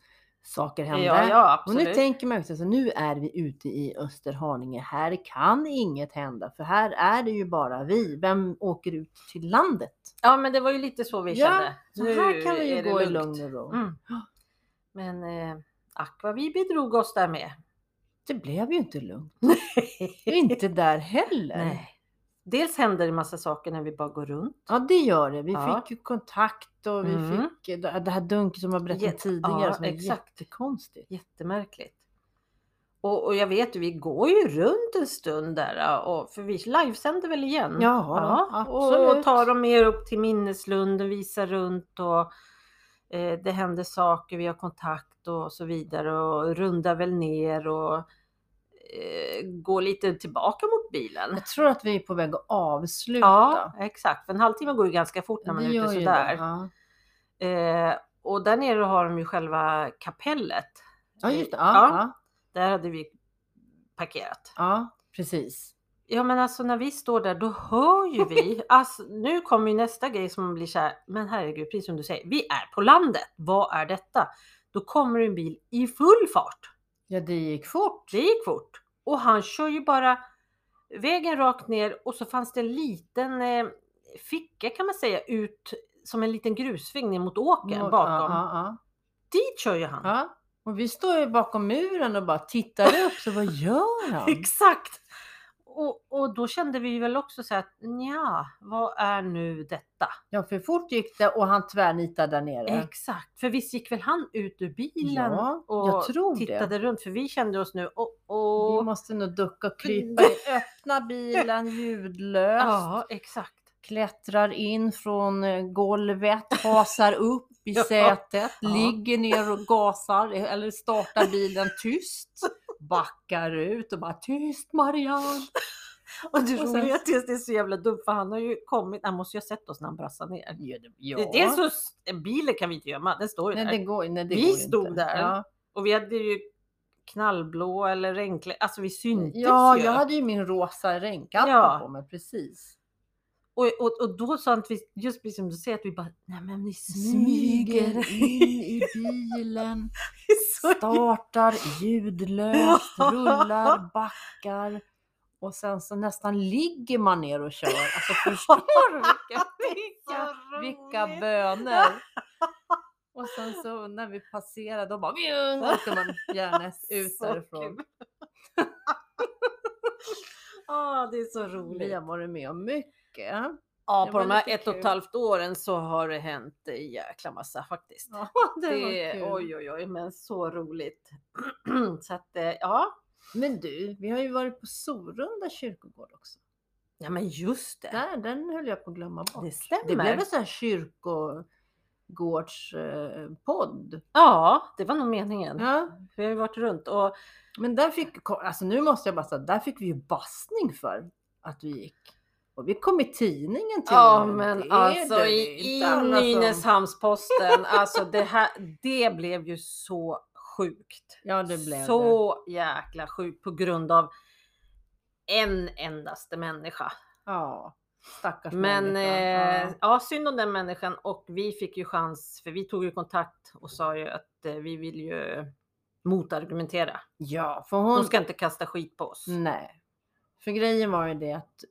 S1: Saker hände.
S2: ja, ja
S1: Och
S2: absolut.
S1: nu tänker man ju också så nu är vi ute i Österhaninge. Här kan inget hända för här är det ju bara vi. Vem åker ut till landet?
S2: Ja men det var ju lite så vi
S1: Ja,
S2: kände.
S1: Så
S2: Nu
S1: här kan vi
S2: är
S1: ju
S2: det
S1: gå i
S2: lugnt.
S1: lugn och ro.
S2: Mm. Men eh, ack vad vi bedrog oss där med.
S1: Det blev ju inte lugnt. Och inte där heller.
S2: Nej. Dels händer det massa saker när vi bara går runt.
S1: Ja det gör det. Vi
S2: Ja.
S1: fick ju kontakt och vi
S2: Mm.
S1: fick det det här dunket som jag berättade
S2: Jätte-
S1: tidigare
S2: ja,
S1: som är
S2: exakt.
S1: jättekonstigt.
S2: Jättemärkligt. Och, och jag vet ju, vi går ju runt en stund där, och, för vi livesänder väl igen?
S1: Ja,
S2: och, och tar dem mer upp till minneslunden, visar runt och eh, det händer saker, vi har kontakt och så vidare och rundar väl ner och eh, går lite tillbaka mot bilen.
S1: Jag tror att vi är på väg att avsluta.
S2: Ja, exakt. För en halvtimme går ju ganska fort när man är ute
S1: ju
S2: sådär.
S1: det, Ja,
S2: Eh, och där nere har de ju själva kapellet.
S1: ja just det.
S2: Typ. Ja.
S1: Ja, ja.
S2: Där hade vi parkerat.
S1: ja precis.
S2: Ja men alltså när vi står där då hör ju vi, alltså, nu kommer ju nästa grej som blir så här, men herregud precis som du säger, vi är på landet, vad är detta? Då kommer en bil i full fart,
S1: Ja, det gick fort.
S2: det gick fort och han kör ju bara vägen rakt ner och så fanns det en liten eh, ficka kan man säga ut som en liten grusväg ner mot åkern
S1: Mot-
S2: bakom.
S1: Ja, ja,
S2: Dit kör ju han.
S1: ja. ja. Och vi står ju bakom muren och bara tittar upp, så vad gör han?
S2: Exakt! Och, och då kände vi väl också så här att nja, vad är nu detta?
S1: Ja, för fort gick det och han tvärnitade där nere.
S2: Exakt, för visst gick väl han ut ur bilen
S1: Ja,
S2: och
S1: jag tror
S2: tittade
S1: det.
S2: runt för vi kände oss nu och
S1: Vi
S2: och
S1: måste nog ducka och krypa i öppna bilen ljudlöst.
S2: Ja, exakt.
S1: Klättrar in från eh, golvet, hasar upp i
S2: Ja.
S1: sätet,
S2: Ja.
S1: ligger ner och gasar eh, eller startar bilen tyst. Backar ut och bara tyst Marianne.
S2: Och det
S1: Och sen-
S2: roliga är att det är så jävla dumt för han har ju kommit, han måste ju ha sett oss när han brassade ner.
S1: Ja, det, ja.
S2: Det är så, bilen kan vi inte gömma, den står ju
S1: Nej,
S2: där.
S1: det går, nej, det
S2: Vi
S1: går
S2: stod
S1: inte.
S2: där.
S1: Ja,
S2: Och vi hade ju knallblå eller regnkläder, alltså vi syntes
S1: ja
S2: ju.
S1: jag hade ju min rosa regnkappe
S2: Ja.
S1: på mig precis.
S2: Och, och, och då sa han att vi, just precis som du säger, att vi bara, nej men ni smyger.
S1: Smyger in i bilen.
S2: Det är så
S1: startar ljudlöst,
S2: Ja.
S1: rullar, backar och sen så nästan ligger man ner och kör. Alltså förstår du vilka, vilka,
S2: så
S1: vilka
S2: roligt.
S1: böner? Och sen så när vi passerar då bara "Vjung", åker man gärna ut
S2: Så
S1: därifrån.
S2: kul. Ja, det är så
S1: Vi
S2: roligt.
S1: har varit med om mycket.
S2: Ja,
S1: det
S2: på
S1: var
S2: de här
S1: lite
S2: ett och ett
S1: kul.
S2: halvt åren så har det hänt en jäkla massa faktiskt.
S1: Ja,
S2: det
S1: det, var kul.
S2: Oj, oj, oj, men så roligt. så att, eh, ja.
S1: Men du, vi har ju varit på Sorunda kyrkogård också.
S2: ja, men just det.
S1: Där, den höll jag på att glömma bort.
S2: Det stämmer.
S1: Det blev en sån här kyrkogårdspodd.
S2: Ja, det var nog meningen.
S1: Ja.
S2: Vi har ju varit runt och
S1: Men där fick, ko- alltså nu måste jag bara säga, där fick vi ju bastning för att vi gick. Och vi kom i tidningen till
S2: Ja
S1: och med. Det
S2: men
S1: är
S2: alltså
S1: det
S2: i,
S1: inte alla
S2: i
S1: som-
S2: Nynäshamnsposten, alltså det här, det blev ju så sjukt.
S1: Ja det blev det.
S2: så jäkla sjukt på grund av en endaste människa.
S1: Ja, stackars
S2: Men
S1: människa.
S2: eh,
S1: Ja.
S2: ja, synd om den människan och vi fick ju chans, för vi tog ju kontakt och sa ju att eh, vi vill ju motargumentera.
S1: ja, för
S2: Hon
S1: hon... Mm.
S2: ska inte kasta skit på oss.
S1: Nej. För grejen var ju det att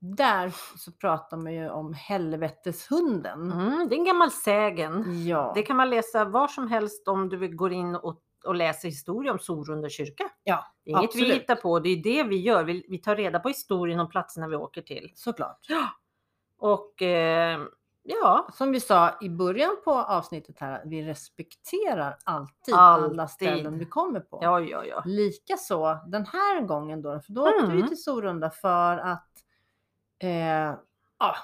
S1: där så pratar man ju om helveteshunden.
S2: Mm, det är en gammal sägen.
S1: Ja.
S2: Det kan man läsa var som helst om du går in och, och läser historia om Sorunda kyrka.
S1: Ja,
S2: det är inget vi
S1: absolut.
S2: hittar på, det är det vi gör. Vi, vi tar reda på historien om platserna vi åker till.
S1: Såklart.
S2: Och eh, ja,
S1: Som vi sa i början på avsnittet här, vi respekterar alltid, alla
S2: Alltid.
S1: ställen vi kommer på.
S2: ja, ja, ja.
S1: Likaså den här gången då, för då åkte vi
S2: Mm.
S1: till Sorunda för att eh, ja,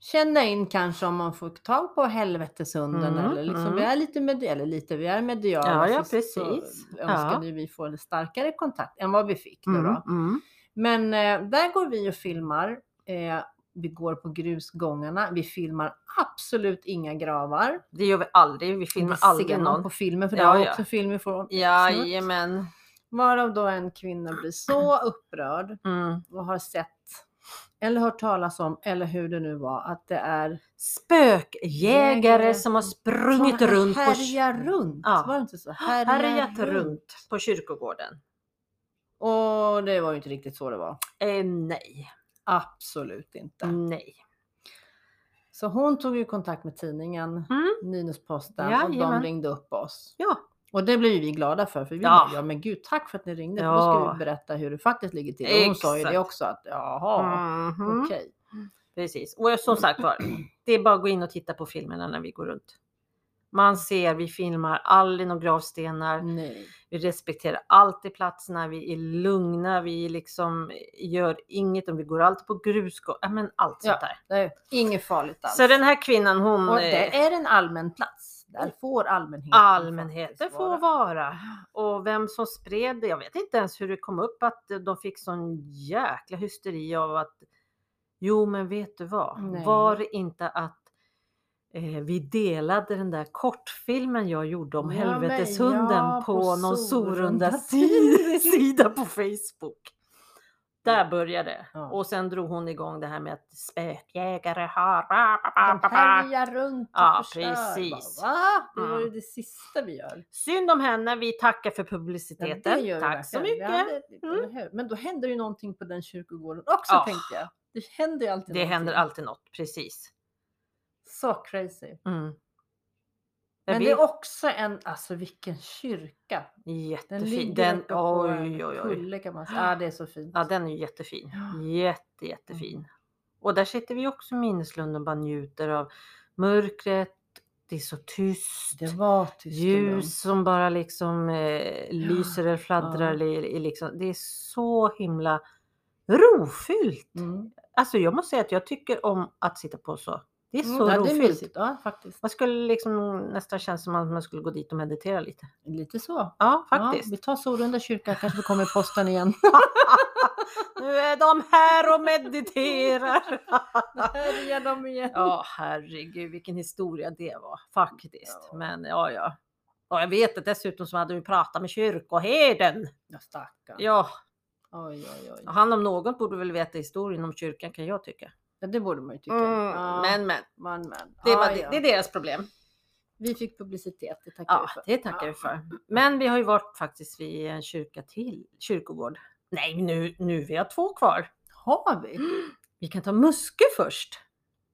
S1: känna in kanske om man får tag på helveteshunden
S2: Mm,
S1: eller liksom
S2: mm.
S1: vi är lite med eller lite, vi är mediala.
S2: Ja, ja,
S1: så,
S2: precis.
S1: Så önskade vi få en starkare kontakt än vad vi fick nu då.
S2: mm.
S1: Men eh, där går vi och filmar. Eh, vi går på grusgångarna. Vi filmar absolut inga gravar.
S2: Det gör vi aldrig, vi filmar
S1: Det ser
S2: aldrig
S1: man
S2: någon.
S1: på filmen, för det
S2: Ja,
S1: har jag
S2: ja.
S1: också film ifrån. Mm.
S2: Jajamän.
S1: Varav då en kvinna blir så upprörd
S2: Mm.
S1: och har sett eller hört talas om, eller hur det nu var, att det är
S2: Spökjägare
S1: Jägare.
S2: som har sprungit
S1: som
S2: runt, på,
S1: härjar runt.
S2: Ja.
S1: Var det inte så?
S2: härjat runt på kyrkogården.
S1: Och det var ju inte riktigt så det var.
S2: Eh, nej,
S1: Absolut inte.
S2: nej.
S1: Så hon tog ju kontakt med tidningen
S2: Mm.
S1: Nynäsposten och de
S2: Jajamän.
S1: ringde upp oss.
S2: Ja.
S1: Och det blev ju vi glada för, för vi
S2: Ja.
S1: bara, ja men gud tack för att ni ringde, för
S2: Ja.
S1: då ska vi berätta hur det faktiskt ligger till. Och hon sa ju det
S2: Exakt.
S1: också att jaha,
S2: Mhm.
S1: okej.
S2: Precis. Och som sagt var, det är bara att gå in och titta på filmerna när vi går runt. Man ser, vi filmar aldrig några gravstenar.
S1: Nej.
S2: Vi respekterar alltid platserna, vi är lugna, vi liksom gör inget och vi går alltid på grusgång. Ja, men allt
S1: Ja.
S2: sånt där.
S1: Nej, inget farligt alls.
S2: Så den här kvinnan hon...
S1: Och
S2: eh,
S1: det är en allmän plats. Där får allmänheten
S2: Allmänheten
S1: faktiskt
S2: får vara. Och vem som spred det, jag vet inte ens hur det kom upp att de fick sån jäkla hysteri av att Jo men vet du vad,
S1: Nej.
S2: var det inte att eh, vi delade den där kortfilmen jag gjorde om
S1: Ja,
S2: helveteshunden
S1: men ja,
S2: på,
S1: på
S2: någon Sorunda
S1: Sorunda
S2: si- sida på Facebook. Där började det.
S1: Ja.
S2: Och sen drog hon igång det här med att spökjägare har...
S1: De härjar runt och
S2: Ja,
S1: förstör.
S2: precis.
S1: Bara, Va? Det var
S2: Mm.
S1: ju det sista vi gör.
S2: Synd om henne. Vi tackar för
S1: Ja, det
S2: publiciteten.
S1: gör vi
S2: Tack så
S1: verkligen. Vi
S2: mycket. Mm.
S1: hade- eller hur? Men då händer ju någonting på den kyrkogården också
S2: Ja.
S1: tänkte jag. Det händer ju alltid
S2: Det händer
S1: någonting.
S2: alltid något, precis.
S1: Så crazy.
S2: Mm. Jag
S1: Men
S2: vet,
S1: det är också en, alltså vilken kyrka. Den
S2: jättefin.
S1: ligger
S2: Den,
S1: uppe på
S2: oj,
S1: en
S2: oj, oj.
S1: kulle kan man säga. Ja, det är så fint.
S2: Ja, den är ju jättefin.
S1: Ja. Mm.
S2: Jätte, jättefin. Och där sitter vi också i minneslund och bara njuter av mörkret. Det är så tyst.
S1: Det var tyst och lugnt.
S2: Ljus som bara liksom eh, lyser eller fladdrar.
S1: ja.
S2: i- i liksom. Det är så himla rofyllt.
S1: Mm.
S2: Alltså jag måste säga att jag tycker om att sitta på så. Det är
S1: Mm,
S2: så
S1: ja, det är
S2: rofyllt.
S1: mysigt. Ja, faktiskt.
S2: Man skulle liksom nästan känns som att man skulle gå dit och meditera lite.
S1: Lite så.
S2: Ja,
S1: Ja,
S2: faktiskt.
S1: vi tar Sorunda kyrka, kanske vi kommer i posten igen.
S2: Nu är de här och mediterar.
S1: Här är de igen.
S2: ja, herregud vilken historia det var faktiskt.
S1: Ja.
S2: Men ja, ja. Och jag vet att dessutom så hade vi pratat med kyrkoherden.
S1: Ja, stackarn.
S2: Ja,
S1: Oj, oj, oj.
S2: och han om någon borde väl veta historien om kyrkan kan jag tycka.
S1: Ja, det borde man ju tycka. Ja,
S2: Mm, Men, men.
S1: man, men.
S2: Det, var,
S1: Ja,
S2: det,
S1: ja.
S2: det är deras problem.
S1: Vi fick publicitet, det tackar
S2: Ja,
S1: vi för.
S2: det tackar vi för. Men vi har ju varit faktiskt vid en kyrka till, kyrkogård. Nej, nu, nu vi har två kvar.
S1: Har vi?
S2: Vi kan ta Muskö först.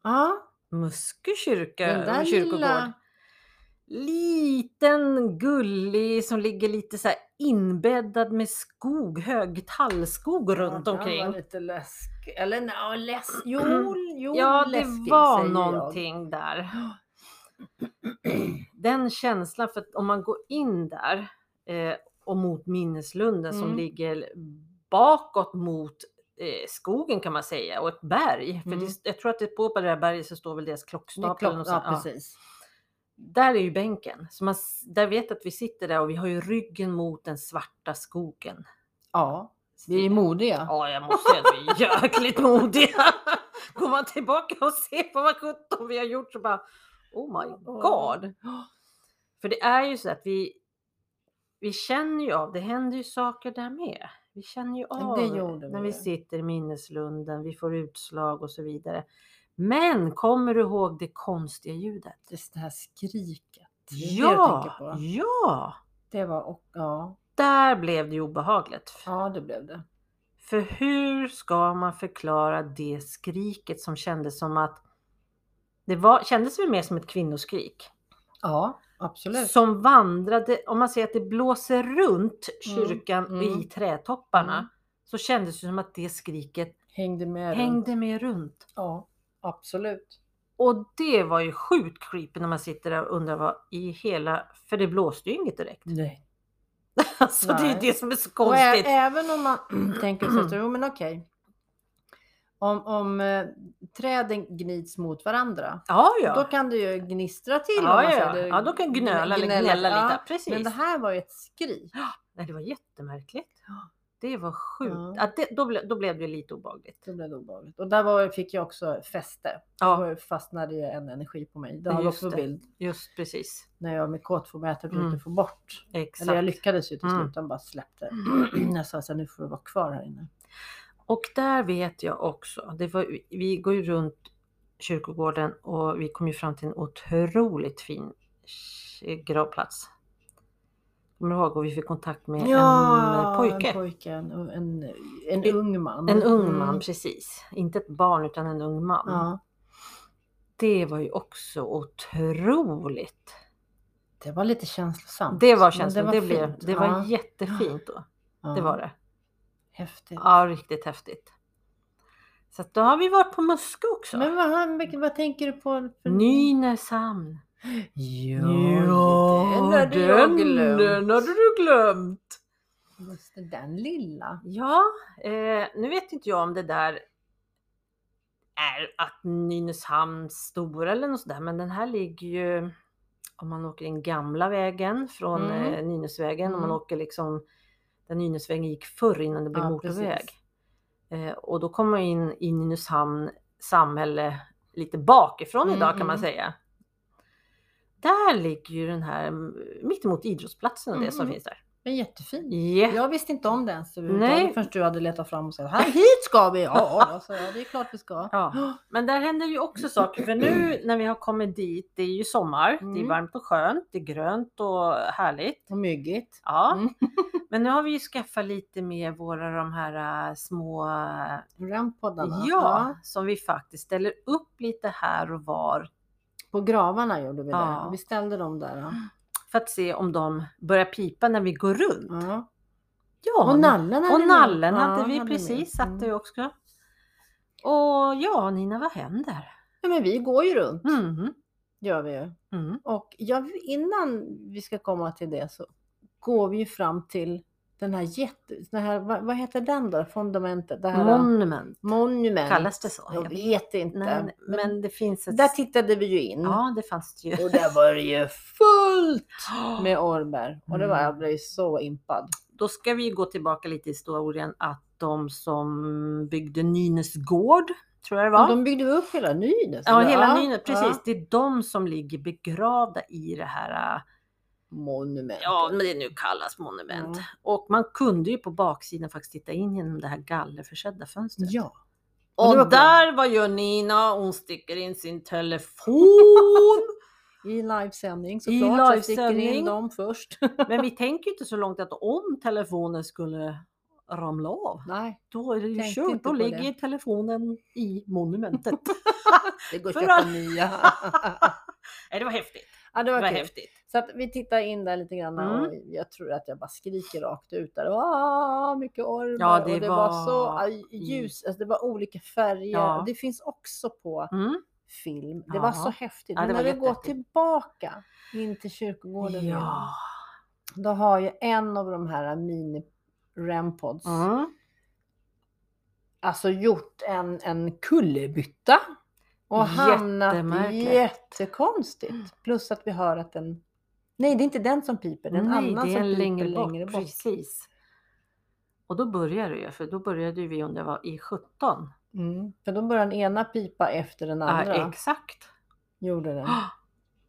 S1: Ja,
S2: Muskö kyrka,
S1: Den där
S2: kyrkogård.
S1: lilla-
S2: Liten gullig som ligger lite så här inbäddad med skog, hög tallskog runt
S1: ja, den
S2: omkring. Mm.
S1: var lite läsk. Eller no, läsk. Jo, jo,
S2: Ja, det
S1: läskig,
S2: var
S1: säger jag.
S2: någonting där. Den känslan, för att om man går in där eh, och mot minneslunden som
S1: Mm.
S2: ligger bakåt mot eh, skogen kan man säga och ett berg. För
S1: Mm.
S2: det, jag tror att det på det där berget så står väl deras
S1: Det är
S2: klockstapel. eller
S1: klart,
S2: något
S1: ja,
S2: sånt. Ja.
S1: precis.
S2: Där är ju bänken. Så man, s- där vet jag att vi sitter där och vi har ju ryggen mot den svarta skogen.
S1: Ja, vi är modiga.
S2: Ja, jag måste säga att vi är jäkligt modiga. Går man tillbaka och ser på vad sjutton vi har gjort så bara Oh my god. För det är ju så att vi vi känner ju av, det händer ju saker där med. Vi känner ju
S1: Men
S2: av
S1: det gjorde
S2: när
S1: vi
S2: vi
S1: ju.
S2: sitter i minneslunden, vi får utslag och så vidare. Men kommer du ihåg det konstiga ljudet?
S1: Just det här skriket. Det är det jag
S2: Ja,
S1: tänker på.
S2: ja,
S1: Det var, och, ja,
S2: där blev det ju obehagligt.
S1: ja, det blev det.
S2: För hur ska man förklara det skriket som kändes som att det var, kändes väl mer som ett kvinnoskrik
S1: Ja, absolut.
S2: som vandrade, om man säger att det blåser runt
S1: Mm,
S2: kyrkan
S1: mm.
S2: i trädtopparna
S1: Mm.
S2: så kändes det som att det skriket
S1: Hängde med. runt.
S2: hängde med runt.
S1: Ja, absolut.
S2: Och det var ju sjukt creepy när man sitter där och undrar vad i hela, för det blåste ju inget direkt.
S1: Nej.
S2: Alltså det är ju
S1: Nej.
S2: det som är så
S1: Och ä-
S2: konstigt.
S1: även om man tänker så, att, jo men okej. Om, om eh, träden gnids mot varandra,
S2: Ja, ja.
S1: då kan det ju gnistra till. om
S2: ja,
S1: man
S2: ja.
S1: säger det.
S2: ja, då kan gnöla eller
S1: Gnälla,
S2: gnälla lite.
S1: ja.
S2: Precis.
S1: Men det här var ju ett skrik.
S2: Nej, det var jättemärkligt. Det var sjukt.
S1: Ja.
S2: Ja. det, då, ble, då blev det lite obehagligt.
S1: Det blev obehagligt. Och där var, fick jag också fäste.
S2: Ja,
S1: Då fastnade ju en energi på mig. Det har jag
S2: Just
S1: också
S2: det.
S1: bild
S2: just precis.
S1: när jag med kåtformätet
S2: Mm.
S1: inte få bort.
S2: Exakt.
S1: Eller jag lyckades ju till
S2: Mm.
S1: slut, den bara släppte. jag sa så här, nu får du vara kvar här inne.
S2: Och där vet jag också. Det var, vi går ju runt kyrkogården och vi kom ju fram till en otroligt fin k- gravplats. Kommer du ihåg? Och vi fick kontakt med en eh, pojke.
S1: En, pojke, en, en, en ung man.
S2: En ung man,
S1: Mm.
S2: precis. Inte ett barn utan en ung man.
S1: Ja,
S2: Det var ju också otroligt.
S1: det var lite känslosamt.
S2: Det var
S1: Men
S2: känslan. Det, blev,
S1: fint.
S2: det var
S1: Ja,
S2: jättefint då.
S1: ja.
S2: Det var det.
S1: Häftigt.
S2: Ja, riktigt häftigt. Så att då har vi varit på Muskö också.
S1: Men vad, han- vilken- vad tänker du på? för-
S2: Nynäshamn.
S1: Ja,
S2: Den hade du glömt.
S1: Just det, den lilla.
S2: Ja, eh, nu vet inte jag om det där är att Nynäshamn stora eller något sådär, men den här ligger ju om man åker den gamla vägen från
S1: Mm.
S2: eh, Nynäsvägen, om man
S1: Mm.
S2: åker liksom där Nynäsvägen gick förr innan det blev
S1: Ja,
S2: motorväg.
S1: precis.
S2: Eh, och då kommer man in i Nynäshamn samhälle lite bakifrån
S1: Mm,
S2: idag kan man
S1: mm.
S2: säga. Där ligger ju den här mm, mittemot idrottsplatsen och det
S1: Mm,
S2: som
S1: mm.
S2: finns där.
S1: Den är jättefin.
S2: Jätte-
S1: Jag visste inte om den så
S2: Nej.
S1: Nej. förrän du hade letat fram och sagt här hit ska vi! Ja, då, så jag, det är klart vi ska.
S2: Ja. Men där händer ju också saker för nu när vi har kommit dit, det är ju sommar, det är
S1: Mm.
S2: varmt och skönt, det är grönt och härligt.
S1: Och myggigt.
S2: Ja,
S1: Mm.
S2: men nu har vi ju skaffat lite mer våra de här äh, små, äh,
S1: Rampaddarna.
S2: ja, som vi faktiskt ställer upp lite här och var
S1: På gravarna gjorde vi
S2: Ja.
S1: det. Vi ställde dem där. Ja.
S2: för att se om de börjar pipa när vi går runt.
S1: Ja.
S2: Ja,
S1: Och
S2: nu-
S1: nallen hade
S2: och
S1: ni-
S2: nallen
S1: ja,
S2: hade vi
S1: hade ni.
S2: precis, satte vi
S1: Mm.
S2: också. Och ja, Nina, vad händer?
S1: ja, men vi går ju runt.
S2: Mhm,
S1: Gör vi ju.
S2: mm.
S1: Och jag, innan vi ska komma till det så går vi ju fram till den här jätte... Den här, vad, vad heter den då? Fundamentet? Det här
S2: Monument,
S1: monument.
S2: kallas det så?
S1: Jag vet inte.
S2: Nej, nej, men det finns ett... Mm.
S1: Där tittade vi ju in.
S2: ja, det fanns det ju.
S1: Och där var det ju fullt
S2: Men
S1: med ormar. Och
S2: Mm.
S1: det var, jag blev så impad.
S2: då ska vi gå tillbaka lite i historien att de som byggde Nynäs gård, tror jag det
S1: Och
S2: var.
S1: de byggde ju upp hela Nynäs.
S2: Ja,
S1: eller?
S2: hela Nynäs, precis.
S1: ja.
S2: Det är de som ligger begravda i det här, äh,
S1: Monumentet.
S2: ja, men det nu kallas monument.
S1: Mm.
S2: Och man kunde ju på baksidan faktiskt titta in genom det här gallerförsedda fönstret.
S1: Ja. Men det var
S2: Och
S1: bra.
S2: där, vad gör Nina? Hon sticker in sin telefon.
S1: I livesändning
S2: I
S1: såklart. så sticker
S2: livesändning.
S1: in dem först.
S2: Men vi tänker ju inte så långt att om telefonen skulle ramla av,
S1: Nej,
S2: då är det ju
S1: Tänkte
S2: kört.
S1: inte
S2: Då
S1: på
S2: ligger
S1: det.
S2: telefonen i monumentet.
S1: det går att
S2: För
S1: köpa
S2: all-
S1: nya.
S2: Nej, det var häftigt.
S1: ja, det
S2: Det
S1: var,
S2: var
S1: kul.
S2: häftigt.
S1: Så att vi tittar in där lite grann och
S2: Mm.
S1: jag tror att jag bara skriker rakt ut där. Åh, mycket ormar.
S2: Ja, det
S1: och det var, så
S2: var
S1: aj, ljus, alltså det var olika färger.
S2: Ja.
S1: Det finns också på
S2: Mm.
S1: film. Det var så
S2: Ja.
S1: häftigt.
S2: Ja, det
S1: Men
S2: var
S1: när vi går
S2: jättehäftigt.
S1: tillbaka in till kyrkogården
S2: Ja.
S1: igen, då har ju en av de här mini Rampods
S2: Mm.
S1: alltså gjort en, en kullerbytta och hamnat
S2: Jättemärkligt. Mm.
S1: jättekonstigt. Plus att vi hör att den Nej, det är inte den som piper. Det är en
S2: Nej,
S1: annan
S2: det är
S1: som
S2: en
S1: piper
S2: längre bort.
S1: längre bort.
S2: Precis. Och då började det ju, för då började ju vi om det var i 17.
S1: Mm. För då börjar den ena pipa efter den
S2: Ja,
S1: andra.
S2: exakt.
S1: Gjorde den.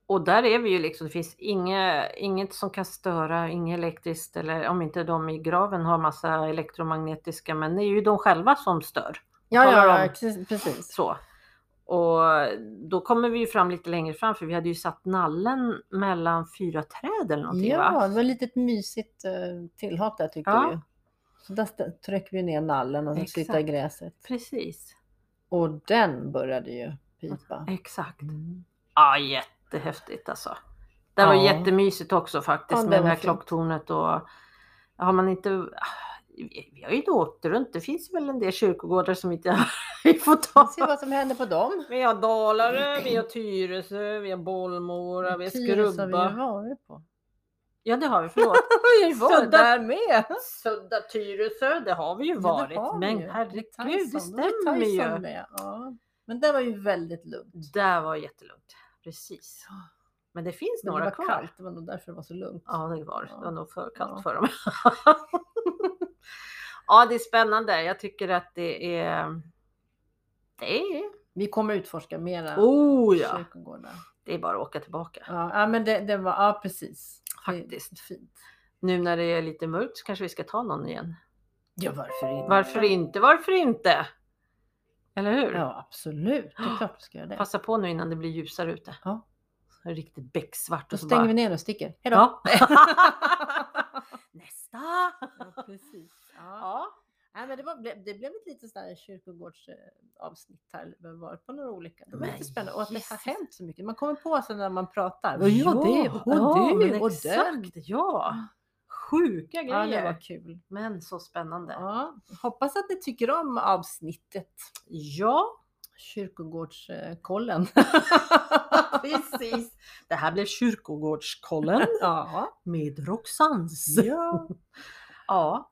S2: Och där är vi ju liksom, det finns inget, inget som kan störa, inget elektriskt eller om inte de i graven har massa elektromagnetiska, men det är ju de själva som stör.
S1: Ja,
S2: Talar
S1: ja,
S2: om-
S1: ja, precis- precis.
S2: Så. Och då kommer vi ju fram lite längre fram för vi hade ju satt nallen mellan fyra träd eller någonting va?
S1: Ja, det var ett litet mysigt eh, tillhat där tyckte
S2: Ja.
S1: vi. Så där stä- tryckte vi ner nallen och så
S2: Exakt.
S1: flyttade gräset.
S2: Precis,
S1: Och den började ju pipa.
S2: exakt.
S1: Mm.
S2: Ja, jättehäftigt alltså. Det var
S1: Ja.
S2: jättemysigt också faktiskt
S1: Ja, det
S2: med det
S1: var
S2: här
S1: fint.
S2: klocktornet och har man inte vi vi har ju inte åkt runt. Det finns ju väl en del kyrkogårdar som inte vi får ta.
S1: Vi ser vad som händer på dem.
S2: Vi har Dalarö, vi har Tyresö, vi har Bollmora, vi har
S1: Tyresö har vi ju
S2: Skrubba.
S1: varit på.
S2: Ja, det har vi. Förlåt.
S1: Vi har ju
S2: varit där
S1: med.
S2: Sudda Tyresö, det har vi ju varit. men herregud, det stämmer ju.
S1: Ja. Men det var ju väldigt lugnt.
S2: Där var jättelugnt. Precis.
S1: Ja.
S2: Men det finns
S1: Men det
S2: några
S1: var
S2: kvar.
S1: kallt, det var nog därför det var så lugnt.
S2: Ja, det var det. Det var
S1: Ja.
S2: nog för kallt
S1: Ja.
S2: för dem. ja, det är spännande. Jag tycker att det är... Det är...
S1: Vi kommer utforska mera
S2: Oh ja!
S1: kyrkogårdar.
S2: Det är bara att åka tillbaka.
S1: Ja, ja, men det, det var, ja precis. Det är
S2: Faktiskt.
S1: Fint.
S2: Nu när det är lite mörkt så kanske vi ska ta någon igen.
S1: Ja, varför inte?
S2: Varför inte? Varför inte? Eller hur?
S1: Ja, absolut. Det är klart vi ska göra det.
S2: Passa på nu innan det blir ljusare ute.
S1: Ja.
S2: Så är det riktigt becksvart.
S1: Då
S2: och så
S1: stänger
S2: bara-
S1: vi ner och sticker. Hej då!
S2: Ja. Nästa!
S1: Ja, precis. Ja.
S2: Ja.
S1: Nej, men det, var, ble- det blev ett litet sådär kyrkogårdsavsnitt eh, här. Vi har varit på några olika. Det var
S2: Men
S1: lite spännande. Och att det har
S2: Jesus.
S1: hänt så mycket. Man kommer på sig när man pratar.
S2: Ja, det och
S1: ja,
S2: det
S1: men
S2: och
S1: exakt.
S2: den. Ja, sjuka
S1: Ja,
S2: grejer.
S1: det var kul.
S2: Men så spännande.
S1: Ja, hoppas att ni tycker om avsnittet.
S2: Ja,
S1: Kyrkogårdskollen.
S2: Precis. Det här blev Kyrkogårdskollen
S1: ja.
S2: med Roxans.
S1: ja.
S2: Ja,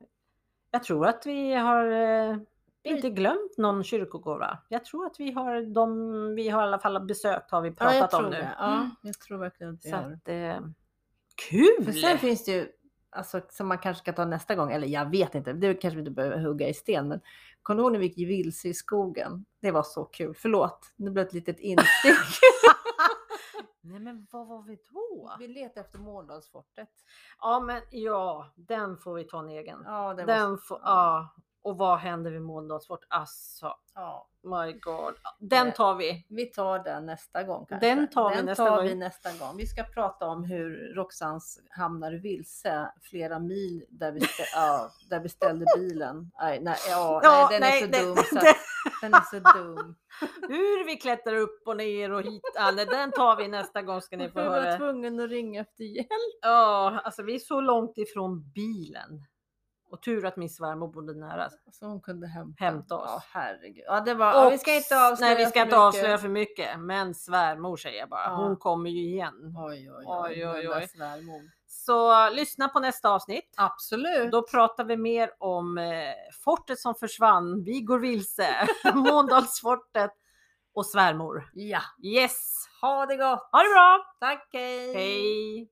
S2: jag tror att vi har eh, inte glömt någon kyrkogåva. Jag tror att vi har de vi har i alla fall besökt har vi
S1: ja, jag
S2: pratat
S1: tror
S2: om nu. Mm.
S1: det. Ja, jag tror verkligen att vi
S2: Så
S1: har.
S2: att, eh,
S1: För
S2: kul!
S1: sen finns det ju, alltså, som man kanske ska ta nästa gång, eller jag vet inte, det kanske vi inte behöver hugga i sten, men kommer du ihåg när vi gick vilse i skogen? Det var så kul. Förlåt, det blev ett litet instick.
S2: Nej men vad var vi då?
S1: vi letade efter Måndalsfortet.
S2: Ja men ja, den får vi ta en egen.
S1: Ja, det var
S2: den
S1: så-
S2: får,
S1: ja.
S2: ja. Och vad händer vid Måndalsfort? Alltså,
S1: ja.
S2: my god.
S1: Eh.
S2: Den tar vi.
S1: Vi tar den nästa gång kanske.
S2: Den tar vi nästa
S1: tar
S2: gång.
S1: vi nästa gång. Vi ska prata om hur Roxans hamnar vilse flera mil där vi, stä- ja, där vi ställde bilen. Nej, nej, ja, nej den är så
S2: nej,
S1: dum. så
S2: den-
S1: att- Den är så dum.
S2: Hur vi klättrar upp och ner och hit. Ja, nej, den tar vi nästa gång ska ni
S1: Jag
S2: få
S1: var
S2: höra.
S1: tvungen att ringa efter hjälp.
S2: Ja, alltså vi är så långt ifrån bilen. Och tur att min svärmor bodde nära.
S1: Så Alltså, hon kunde hämta,
S2: Hämta oss.
S1: Ja, herregud. Ja, det var, ja, vi ska inte avslöja
S2: nej, vi ska
S1: för
S2: inte
S1: mycket.
S2: avslöja för mycket. Men svärmor säger jag bara.
S1: Ja.
S2: Hon kommer ju igen.
S1: Oj, oj,
S2: Oj,
S1: oj.
S2: oj,
S1: den där
S2: oj.
S1: svärmor.
S2: Så lyssna på nästa avsnitt.
S1: Absolut.
S2: Då pratar vi mer om eh, fortet som försvann. Vi går vilse. Måndalsfortet och svärmor.
S1: Ja,
S2: Yes!
S1: ha det gott.
S2: Ha det bra!
S1: Tack, hej.
S2: Hej!